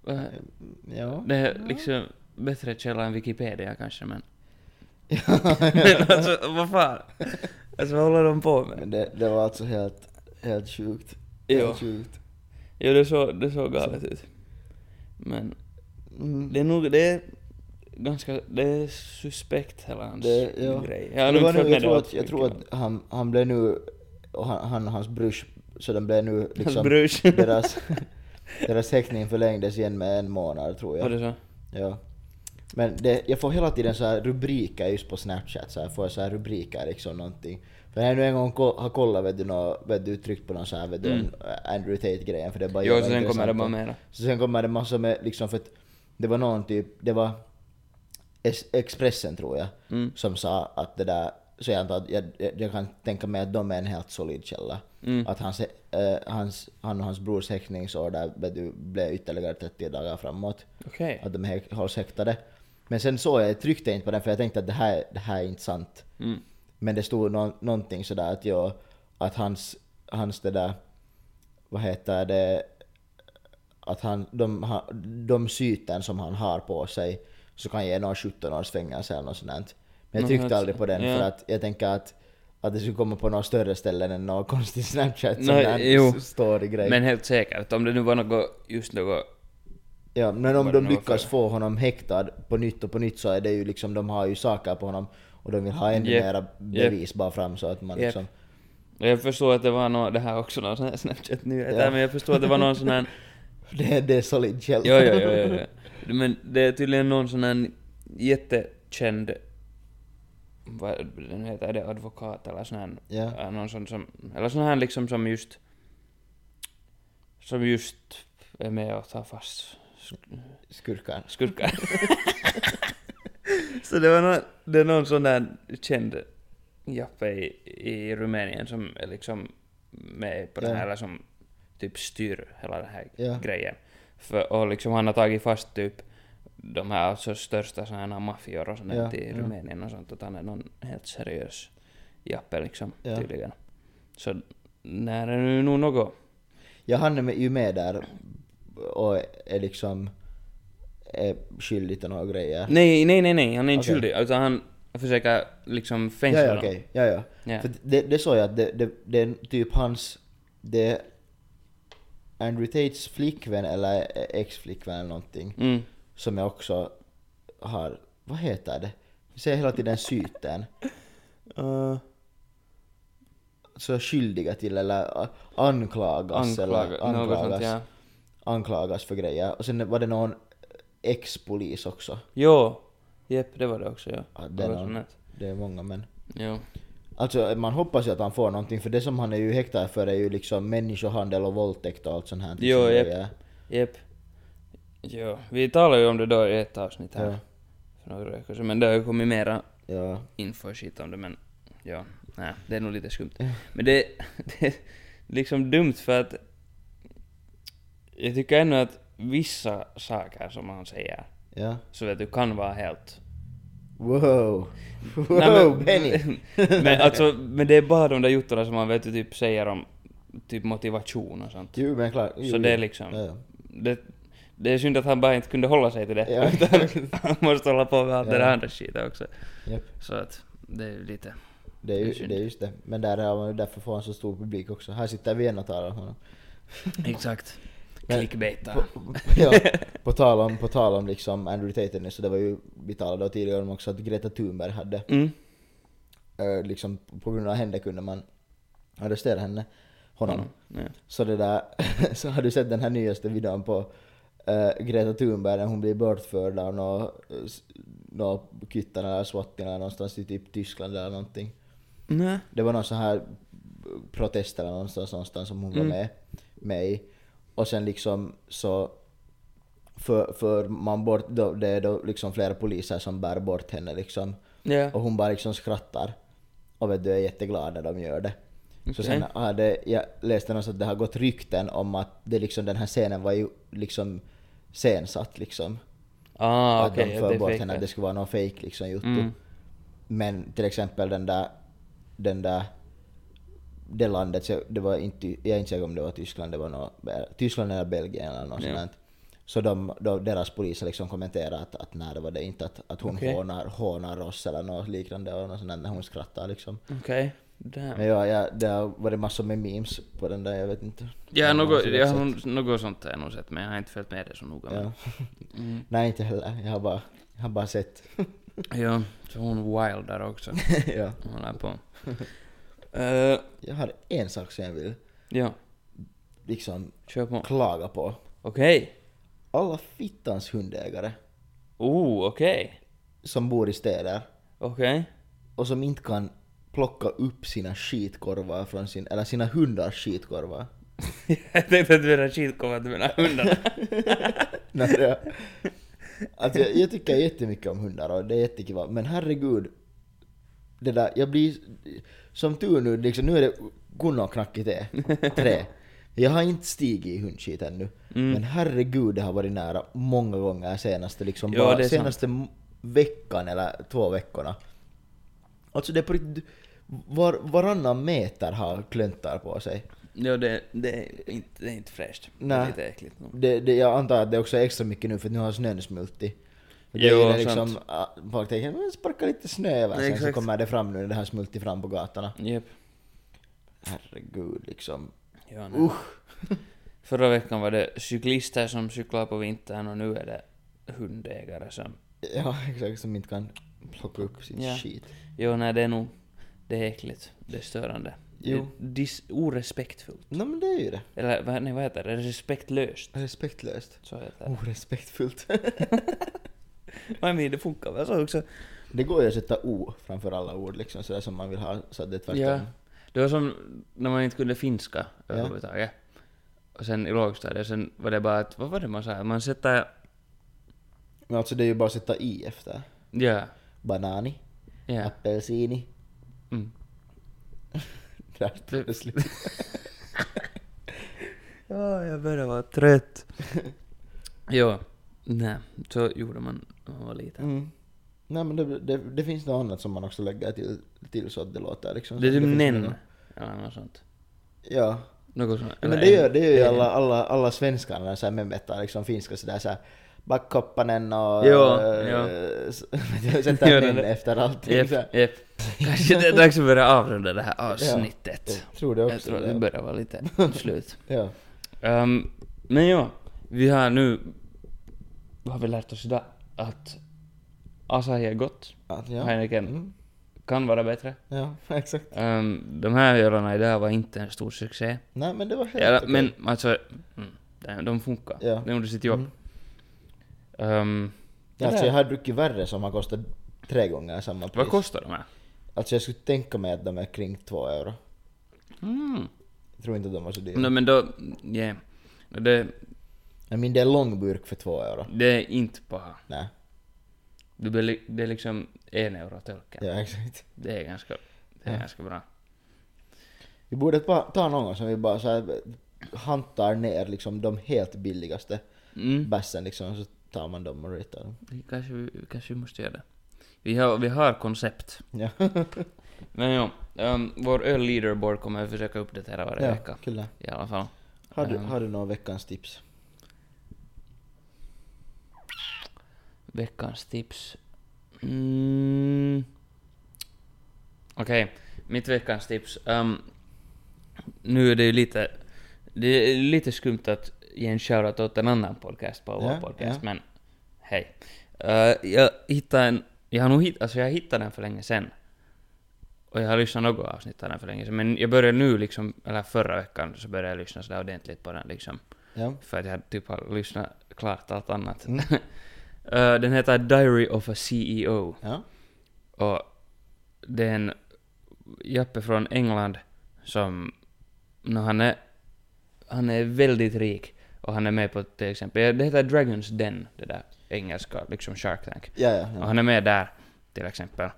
Speaker 2: Va-
Speaker 3: Ja.
Speaker 2: Det är liksom bättre källa än Wikipedia kanske men...
Speaker 3: ja.
Speaker 2: men alltså vad fan? Alltså vad håller de på med?
Speaker 3: Men det, det var alltså helt, helt sjukt.
Speaker 2: Jo.
Speaker 3: Helt sjukt.
Speaker 2: Jo det såg, det såg galet ut. Men
Speaker 3: Mm.
Speaker 2: det är nog, det är ganska, det är suspekt hela hans
Speaker 3: Det- ja.
Speaker 2: grej. Jag har
Speaker 3: Men
Speaker 2: nog
Speaker 3: det var
Speaker 2: inte
Speaker 3: nu,
Speaker 2: följt med
Speaker 3: jag tror
Speaker 2: det
Speaker 3: att, jag tror
Speaker 2: alltför mycket.
Speaker 3: att han, han blev nu, och han, han och hans brors, så de blev nu
Speaker 2: Hans
Speaker 3: liksom,
Speaker 2: brus.
Speaker 3: deras, deras häktning förlängdes igen med en månad tror
Speaker 2: Var
Speaker 3: jag.
Speaker 2: det så?
Speaker 3: Ja. Men det, jag får hela tiden så här rubriker just på Snapchat, så här, får jag så här rubriker liksom någonting. För när jag nu en gång ko- har kollat vet du, nå, vet du tryckt på någon så här vet du,
Speaker 2: Mm.
Speaker 3: Andrew Tate-grejen för det är bara
Speaker 2: Jo,
Speaker 3: jävla
Speaker 2: så sen kommer
Speaker 3: intressant
Speaker 2: det bara
Speaker 3: och-
Speaker 2: mera.
Speaker 3: så sen kommer det massor med liksom för att det var någon typ, det var Es- Expressen tror jag,
Speaker 2: Mm.
Speaker 3: som sa att det där, så jag antar att jag, jag, jag kan tänka mig att de är en helt solid källa.
Speaker 2: Mm.
Speaker 3: Att hans, eh, hans, han och hans brors häktningsorder vet du, blev ytterligare 30 dagar framåt.
Speaker 2: Okej.
Speaker 3: Att de hä- hålls häktade. Men sen såg jag, jag tryckte inte på den för jag tänkte att det här, det här är inte sant.
Speaker 2: Mm.
Speaker 3: Men det stod nå- någonting sådär att jag, att hans, hans det där, vad heter det, att han, de, ha- de syten som han har på sig så kan ge någon 17 års fängelse eller något sånt. där. Men jag
Speaker 2: Nå,
Speaker 3: tryckte
Speaker 2: alltså,
Speaker 3: aldrig på den
Speaker 2: ja.
Speaker 3: för att jag tänker att att det skulle komma på några större ställen än någon konstig Snapchat
Speaker 2: Nej, jo.
Speaker 3: som står i grej.
Speaker 2: Men helt säkert, om det nu var något, just något...
Speaker 3: ja, men om
Speaker 2: Vad det
Speaker 3: de
Speaker 2: nu var
Speaker 3: lyckas
Speaker 2: för-
Speaker 3: få honom häktad på nytt och på nytt så är det ju liksom, de har ju saker på honom och de vill ha ännu
Speaker 2: Japp,
Speaker 3: mera
Speaker 2: japp.
Speaker 3: bevis bara fram så att man
Speaker 2: Japp.
Speaker 3: liksom...
Speaker 2: Jag förstår att det var någon, det här är också någon sån här Snapchat-nyhet
Speaker 3: Ja.
Speaker 2: här, men jag förstår att det var någon sån här...
Speaker 3: Det, det är solid källa.
Speaker 2: Jo, jo, jo, jo, jo. Men det är tydligen någon sån här jättekänd... Vad är det den heter? Är det advokat eller sån här?
Speaker 3: Ja.
Speaker 2: äh, Någon sån som... Eller sån här liksom som just... Som just är med och tar fast
Speaker 3: Skurkar.
Speaker 2: skurkar. Så det var någon, det är någon sån där känd jappe i, i Rumänien som är liksom med på det
Speaker 3: Ja.
Speaker 2: här, eller som typ styr hela den här
Speaker 3: Ja.
Speaker 2: grejen. För, och liksom han har tagit fast typ de här alltså största sådana här maffior och sånt
Speaker 3: Ja,
Speaker 2: där i
Speaker 3: ja.
Speaker 2: Rumänien och sånt, att han är någon helt seriös jappe liksom
Speaker 3: Ja.
Speaker 2: tydligen. Så när är det nu något?
Speaker 3: Ja, han är med- ju med där och är liksom är skyldig till några grejer.
Speaker 2: Nej, nej, nej, nej, han är inte
Speaker 3: Okej.
Speaker 2: skyldig, utan han försöker liksom
Speaker 3: ja,
Speaker 2: fängsla
Speaker 3: ja,
Speaker 2: dem.
Speaker 3: okej. Ja, ja.
Speaker 2: Ja.
Speaker 3: För det, det såg jag att det, det, det är typ hans... Det är Andrew Tates flickvän eller ex-flickvän eller någonting
Speaker 2: Mm.
Speaker 3: som jag också har... Vad heter det? Vi säger hela tiden syten.
Speaker 2: Uh.
Speaker 3: Så skyldiga till eller uh, anklagas
Speaker 2: Anklaga,
Speaker 3: eller
Speaker 2: något sånt, ja.
Speaker 3: anklagas för grejer. Och sen var det någon ex-polis också.
Speaker 2: Jo, jepp, det var det också, ja.
Speaker 3: Ja, det är
Speaker 2: Något
Speaker 3: någon-
Speaker 2: sånt där.
Speaker 3: Det är många men...
Speaker 2: Jo.
Speaker 3: Alltså man hoppas ju att han får någonting för det som han är ju häktad för är ju liksom människohandel och våldtäkt och allt sånt här.
Speaker 2: Jo,
Speaker 3: Som
Speaker 2: japp.
Speaker 3: grejer.
Speaker 2: Jepp. Jo, vi talade ju om det då i ett avsnitt här
Speaker 3: Ja.
Speaker 2: för några veckor sedan, men det har ju kommit mera
Speaker 3: Ja.
Speaker 2: info och skit om det, men ja, nej, det är nog lite skumt. Men det, det är liksom dumt för att jag tycker ändå att vissa saker som han säger,
Speaker 3: Ja.
Speaker 2: så vet du, kan vara helt
Speaker 3: Wow! Wow
Speaker 2: Nej, men-
Speaker 3: Benny!
Speaker 2: men, alltså, men det är bara de där juttorna som man vet du typ säger om typ motivation och sånt.
Speaker 3: Jo men klart. Jo,
Speaker 2: Så det är
Speaker 3: jo.
Speaker 2: liksom-
Speaker 3: Ja, ja.
Speaker 2: Det, det är synd att han bara inte kunde hålla sig till det.
Speaker 3: Ja.
Speaker 2: Utan han måste hålla på med allt det
Speaker 3: Ja.
Speaker 2: där andra skiten också.
Speaker 3: Japp.
Speaker 2: Så att det är ju lite...
Speaker 3: Det är
Speaker 2: Det är
Speaker 3: ju
Speaker 2: synd.
Speaker 3: det är just det. Men där har man ju därför får han så stor publik också. Här sitter vi igen och talar om honom.
Speaker 2: Exakt.
Speaker 3: Men-
Speaker 2: Clickbaita.
Speaker 3: ja, på tal om, på tal om liksom Andrew Tate nu så det var ju, vi talade tidigare om också att Greta Thunberg hade
Speaker 2: Mm.
Speaker 3: eh, liksom på grund av henne kunde man arrestera henne, honom.
Speaker 2: Ja.
Speaker 3: Så det där, så har du sett den här nyaste videon på eh, Greta Thunberg när hon blir bortförd av nå nå kyttarna eller swattarna någonstans i typ Tyskland eller någonting.
Speaker 2: Nej.
Speaker 3: Det var någon sån här protest eller någonstans, någonstans som hon
Speaker 2: Mm.
Speaker 3: var med, med i. Och sen liksom så för, för man bort, då, det är då liksom flera poliser som bär bort henne liksom. Och
Speaker 2: Ja.
Speaker 3: hon bara liksom skrattar. Och vet du, är jätteglad när de gör det. Så
Speaker 2: Okej.
Speaker 3: sen hade, jag läste någonstans att det har gått rykten om att det liksom, den här scenen var ju liksom scensatt liksom.
Speaker 2: Ah,
Speaker 3: att
Speaker 2: okej.
Speaker 3: de
Speaker 2: ja,
Speaker 3: för
Speaker 2: det
Speaker 3: bort
Speaker 2: är
Speaker 3: henne, att det
Speaker 2: fejkat.
Speaker 3: skulle vara någon fake liksom juttu.
Speaker 2: Mm.
Speaker 3: Men till exempel den där, den där, det landet, så det var inte, jag är inte säker om det var Tyskland, det var något, Tyskland eller Belgien eller något
Speaker 2: Ja.
Speaker 3: sånt sånt. Så de, de, deras poliser liksom kommenterar att, att nej det var det inte, att, att hon
Speaker 2: Okej.
Speaker 3: hånar, hånar oss eller något liknande och något sånt där, när hon skrattar liksom.
Speaker 2: Okej.
Speaker 3: Men
Speaker 2: Damn.
Speaker 3: ja, ja, det har varit massor med memes på den där, jag vet inte.
Speaker 2: Ja, något,
Speaker 3: jag
Speaker 2: jag
Speaker 3: har
Speaker 2: har
Speaker 3: sett.
Speaker 2: nog- något sånt har jag nog sett, men jag har inte följt med det så noga. men-
Speaker 3: Ja.
Speaker 2: Mm.
Speaker 3: Nej inte heller, jag har bara, jag har bara sett.
Speaker 2: Ja, så hon wildar också.
Speaker 3: ja.
Speaker 2: Hon håller på. Eh,
Speaker 3: Jag har en sak som jag vill
Speaker 2: ja,
Speaker 3: liksom
Speaker 2: kör på.
Speaker 3: klaga på.
Speaker 2: Okej.
Speaker 3: Alla fittans hundägare
Speaker 2: Oh, okej.
Speaker 3: som bor i städer
Speaker 2: Okej.
Speaker 3: och som inte kan plocka upp sina skitkorvar från sin, eller sina hundars skitkorvar.
Speaker 2: jag tänkte att du menade skitkorvar, att du menar hundar.
Speaker 3: Nej, det- alltså, jag, jag tycker jättemycket om hundar och det är jättekul. Men herregud. Det där, jag blir... Som tur nu, liksom, nu är det kunnoknackigt det. Tre. Jag har inte stigit i hundskit ännu.
Speaker 2: Mm.
Speaker 3: Men herregud, det har varit nära många gånger senaste, liksom,
Speaker 2: Ja, det
Speaker 3: bara,
Speaker 2: är sant.
Speaker 3: senaste m- veckan eller två veckorna. Alltså det är på riktigt... Var, varannan meter har klöntar på sig.
Speaker 2: ja, det, det, är inte, det är inte fräscht. Det
Speaker 3: Nej.
Speaker 2: är lite äckligt. nog.
Speaker 3: Det, det, jag antar att det också är extra mycket nu för att nu har snön smultit. Det
Speaker 2: Jo,
Speaker 3: är det
Speaker 2: sant.
Speaker 3: liksom, ah, folk tänker "Men sparka lite snö över
Speaker 2: Nej,
Speaker 3: sen så
Speaker 2: exakt.
Speaker 3: kommer det fram nu när det har smultit fram på gatorna.
Speaker 2: Jep.
Speaker 3: Herregud liksom.
Speaker 2: Ja, nej. Förra veckan var det cyklister som cyklar på vintern och nu är det hundägare som...
Speaker 3: Ja exakt, som inte kan plocka upp sin
Speaker 2: Ja.
Speaker 3: skit.
Speaker 2: Jo, nej, det är nog... Det är äckligt. Det är störande.
Speaker 3: Jo.
Speaker 2: Det, dis, orespektfullt.
Speaker 3: Nej men det är ju det.
Speaker 2: Eller vad- nej, vad heter det? Respektlöst.
Speaker 3: Respektlöst.
Speaker 2: Så heter det.
Speaker 3: Orespektfullt.
Speaker 2: Men men, det funkar väl så också?
Speaker 3: det går ju att sätta O framför alla ord liksom sådär som man vill ha så att det är tvärtom.
Speaker 2: Ja. Det var som när man inte kunde finska
Speaker 3: Ja.
Speaker 2: överhuvudtaget. Och sen i lågstadiet, sen var det bara att, vad var det man sa? Man sätter,
Speaker 3: Men alltså det är ju bara att sätta I efter.
Speaker 2: ja,
Speaker 3: Banani,
Speaker 2: ja.
Speaker 3: apelsini.
Speaker 2: Mm.
Speaker 3: Där tog det slut.
Speaker 2: Ja, jag börjar vara trött. ja, nej, så gjorde man när man var liten.
Speaker 3: Mm. Nej men det, det, det finns något annat som man också lägger till, till så att det låter liksom.
Speaker 2: Det är typ
Speaker 3: finns
Speaker 2: nen,
Speaker 3: något-
Speaker 2: eller något sånt.
Speaker 3: Ja.
Speaker 2: Något sånt.
Speaker 3: Men det gör, det gör ju alla, alla, alla svenskar när så här memetar liksom finska sådär såhär Backkoppanen och...
Speaker 2: Ja,
Speaker 3: eh,
Speaker 2: ja.
Speaker 3: s- Sätter
Speaker 2: Gör det.
Speaker 3: nen efter allting
Speaker 2: Japp,
Speaker 3: så här.
Speaker 2: japp. Kanske det är dags att börja avrunda det här avsnittet.
Speaker 3: Jag tror det också.
Speaker 2: Jag tror att vi
Speaker 3: det.
Speaker 2: börjar vara lite slut.
Speaker 3: Ja.
Speaker 2: Ehm, men ja, vi har nu... Vad har vi lärt oss idag? Att Asahi är gott,
Speaker 3: Att, ja.
Speaker 2: Heineken
Speaker 3: Mm.
Speaker 2: kan vara bättre.
Speaker 3: ja, exakt.
Speaker 2: Ehm, de här ölarna idag var inte en stor succé.
Speaker 3: Nej men det var helt
Speaker 2: Ja,
Speaker 3: okej.
Speaker 2: men alltså, mm, de- de funkar.
Speaker 3: Ja.
Speaker 2: De gjorde sitt jobb.
Speaker 3: Mm.
Speaker 2: Ehm, det
Speaker 3: Alltså
Speaker 2: där-
Speaker 3: jag har druckit värre som har kostat tre gånger samma pris.
Speaker 2: vad kostar de här?
Speaker 3: Alltså jag skulle tänka mig att de är kring två euro.
Speaker 2: Mm.
Speaker 3: Jag tror inte att de var så dyra.
Speaker 2: No, men då, yeah. No, det,
Speaker 3: Jag menar det är långburk för två euro.
Speaker 2: det är inte paha.
Speaker 3: Nej,
Speaker 2: Det, blir li- det är liksom en euro tölken.
Speaker 3: ja exakt.
Speaker 2: Det är ganska, det är ganska bra.
Speaker 3: Vi borde ta, ta någon som vi bara så här, hantar ner liksom de helt billigaste
Speaker 2: Mm.
Speaker 3: bässen liksom, så tar man dem och ratear dem.
Speaker 2: Vi Kanske, vi- kanske vi måste göra det. Vi har, vi har koncept.
Speaker 3: Ja,
Speaker 2: Men ja, um, vår öl-leaderboard kommer vi försöka uppdatera varje
Speaker 3: ja
Speaker 2: vecka.
Speaker 3: kul.
Speaker 2: I alla fall.
Speaker 3: Har du,
Speaker 2: Ehm,
Speaker 3: har du några veckans tips?
Speaker 2: Veckans tips. Mm. Okej, mitt veckans tips. Ehm, nu är det ju lite, det är lite skumt att ge en shoutout åt en annan podcast på vår
Speaker 3: Ja,
Speaker 2: podcast,
Speaker 3: ja.
Speaker 2: men hej. Eh, jag hittade en, jag har nog hitt, alltså jag hittade den för länge sedan. Och jag har lyssnat något avsnitt av den för länge sedan, men jag började nu liksom, eller förra veckan så började jag lyssna sådär ordentligt på den liksom.
Speaker 3: Ja.
Speaker 2: För att jag hade typ har lyssnat klart allt annat. Eh, den heter Diary of a CEO.
Speaker 3: Ja.
Speaker 2: Och det är en jappe från England som... nå han, är, han är väldigt rik. Och han är med på till exempel... Det heter Dragons Den, det där engelska, liksom Shark Tank.
Speaker 3: Ja, ja,
Speaker 2: Och
Speaker 3: ja.
Speaker 2: han är med där, till exempel.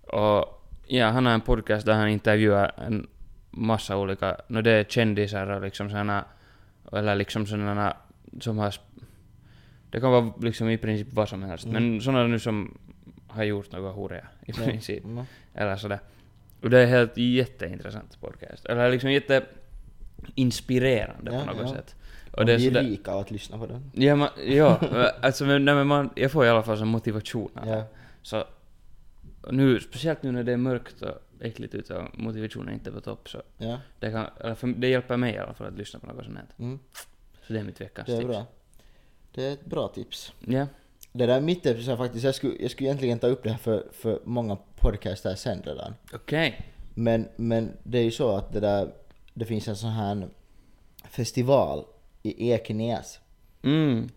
Speaker 2: Och ja, han har en podcast där han intervjuar en massa olika, no det är kändisar och liksom sådana, eller liksom sådana som har, sp- det kan vara liksom i princip vad som helst,
Speaker 3: Mm.
Speaker 2: men sådana nu som har gjort något horiga i princip.
Speaker 3: Mm.
Speaker 2: Eller sådär. Och det är helt jätteintressant podcast. Eller liksom jätteinspirerande
Speaker 3: Ja,
Speaker 2: på något
Speaker 3: ja.
Speaker 2: sätt.
Speaker 3: Och
Speaker 2: Och det är
Speaker 3: Vi är
Speaker 2: sådär,
Speaker 3: rika av att lyssna på den.
Speaker 2: Ja, man, ja alltså, men, nej, men man, jag får i alla fall som motivation av
Speaker 3: Ja.
Speaker 2: det. Så nu, speciellt nu när det är mörkt och äckligt ute och motivationen inte är på topp så
Speaker 3: Ja.
Speaker 2: det, kan, eller för, det hjälper mig i alla fall att lyssna på något sånt här.
Speaker 3: Mm.
Speaker 2: Så det är mitt veckans
Speaker 3: Det är
Speaker 2: tips.
Speaker 3: bra. Det är ett bra tips.
Speaker 2: Ja.
Speaker 3: Det där mitt tips är faktiskt, jag skulle, jag skulle egentligen ta upp det här för, för många podcaster sen redan.
Speaker 2: Okej.
Speaker 3: Men, men det är ju så att det där, det finns en sån här festival i Ekenäs
Speaker 2: Mm.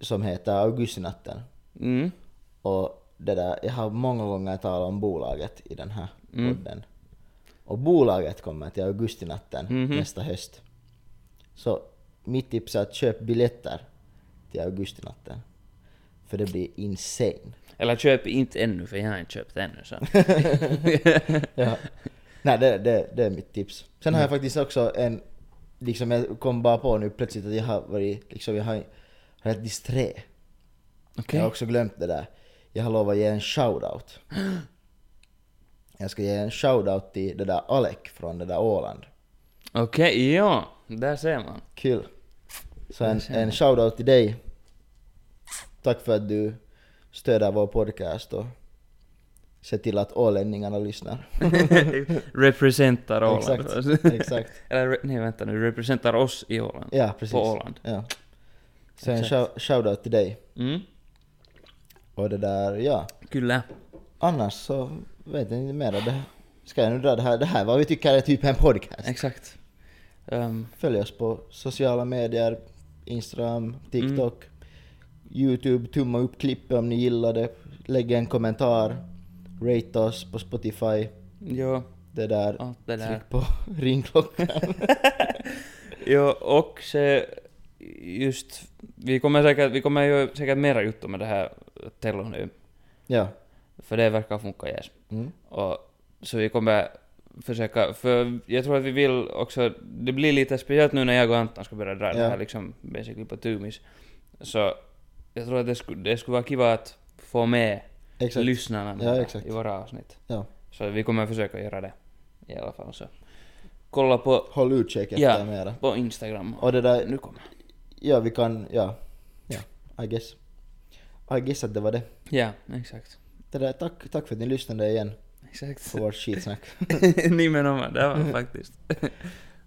Speaker 3: som heter Augustinatten.
Speaker 2: Mm.
Speaker 3: Och det där, jag har många gånger talat om bolaget i den här podden. Och bolaget kommer till Augustinatten nästa höst. Så mitt tips är att köp biljetter till Augustinatten. För det blir insane.
Speaker 2: Eller köp inte ännu för jag har inte köpt ännu så.
Speaker 3: Ja. Nej, det, det, det är mitt tips. Sen har jag faktiskt också en... Liksom jag kom bara på nu plötsligt att jag har varit... Liksom jag har, har varit disträ.
Speaker 2: Okej.
Speaker 3: Jag har också glömt det där. Jag har lovat att ge en shoutout. Jag ska ge en shoutout till det där Alec från det där Åland.
Speaker 2: Okej, ja. Där ser man.
Speaker 3: Kul. Så en, en shoutout till dig. Tack för att du stöder vår podcast och ser till att ålänningarna lyssnar.
Speaker 2: Representar Åland.
Speaker 3: exakt, exakt.
Speaker 2: Eller re- nej vänta nu, representar oss i Åland.
Speaker 3: Ja, precis.
Speaker 2: På Åland.
Speaker 3: Ja. Så en
Speaker 2: Exakt.
Speaker 3: shou- shoutout till dig.
Speaker 2: Mm,
Speaker 3: Och det där, ja.
Speaker 2: kyllä.
Speaker 3: Annars så vet jag inte mer. Det, ska jag nu dra det här? Det här vad vi tycker är typ en podcast.
Speaker 2: Exakt. Ehm,
Speaker 3: Följ oss på sociala medier, Instagram, TikTok, YouTube, tumma upp klippet om ni gillade, lägg en kommentar, rate oss på Spotify,
Speaker 2: jo,
Speaker 3: det där,
Speaker 2: allt det där.
Speaker 3: tryck på ringklockan.
Speaker 2: Jo, och se just, vi kommer säkert, vi kommer ju säkert mera juttu med det här Tello nu.
Speaker 3: ja.
Speaker 2: För det verkar funka yes.
Speaker 3: Mm.
Speaker 2: Och, så vi kommer försöka, för jag tror att vi vill också, det blir lite speciellt nu när jag och Anton ska börja dra det
Speaker 3: Ja.
Speaker 2: här liksom basically på tumis. Så jag tror att det skulle, det skulle vara kiva att få med
Speaker 3: Exakt.
Speaker 2: lyssnarna med
Speaker 3: Ja, exakt.
Speaker 2: i våra avsnitt.
Speaker 3: ja.
Speaker 2: Så vi kommer försöka göra det i alla fall. Så. Kolla på,
Speaker 3: Håll utkik efter
Speaker 2: ja,
Speaker 3: mera.
Speaker 2: på Instagram.
Speaker 3: Och det där-
Speaker 2: Nu kommer
Speaker 3: Ja, vi kan, ja. Ja, I guess. I guess att det var det.
Speaker 2: Ja, exakt.
Speaker 3: det där, tack, tack för att ni lyssnade igen
Speaker 2: Exakt.
Speaker 3: på vårt skitsnack.
Speaker 2: Nimenomaan, det var faktiskt.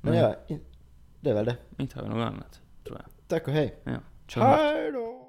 Speaker 3: Men ja, i- det är väl det.
Speaker 2: Inte har vi något annat, tror jag.
Speaker 3: Tack och hej.
Speaker 2: Ja.
Speaker 3: Hej då!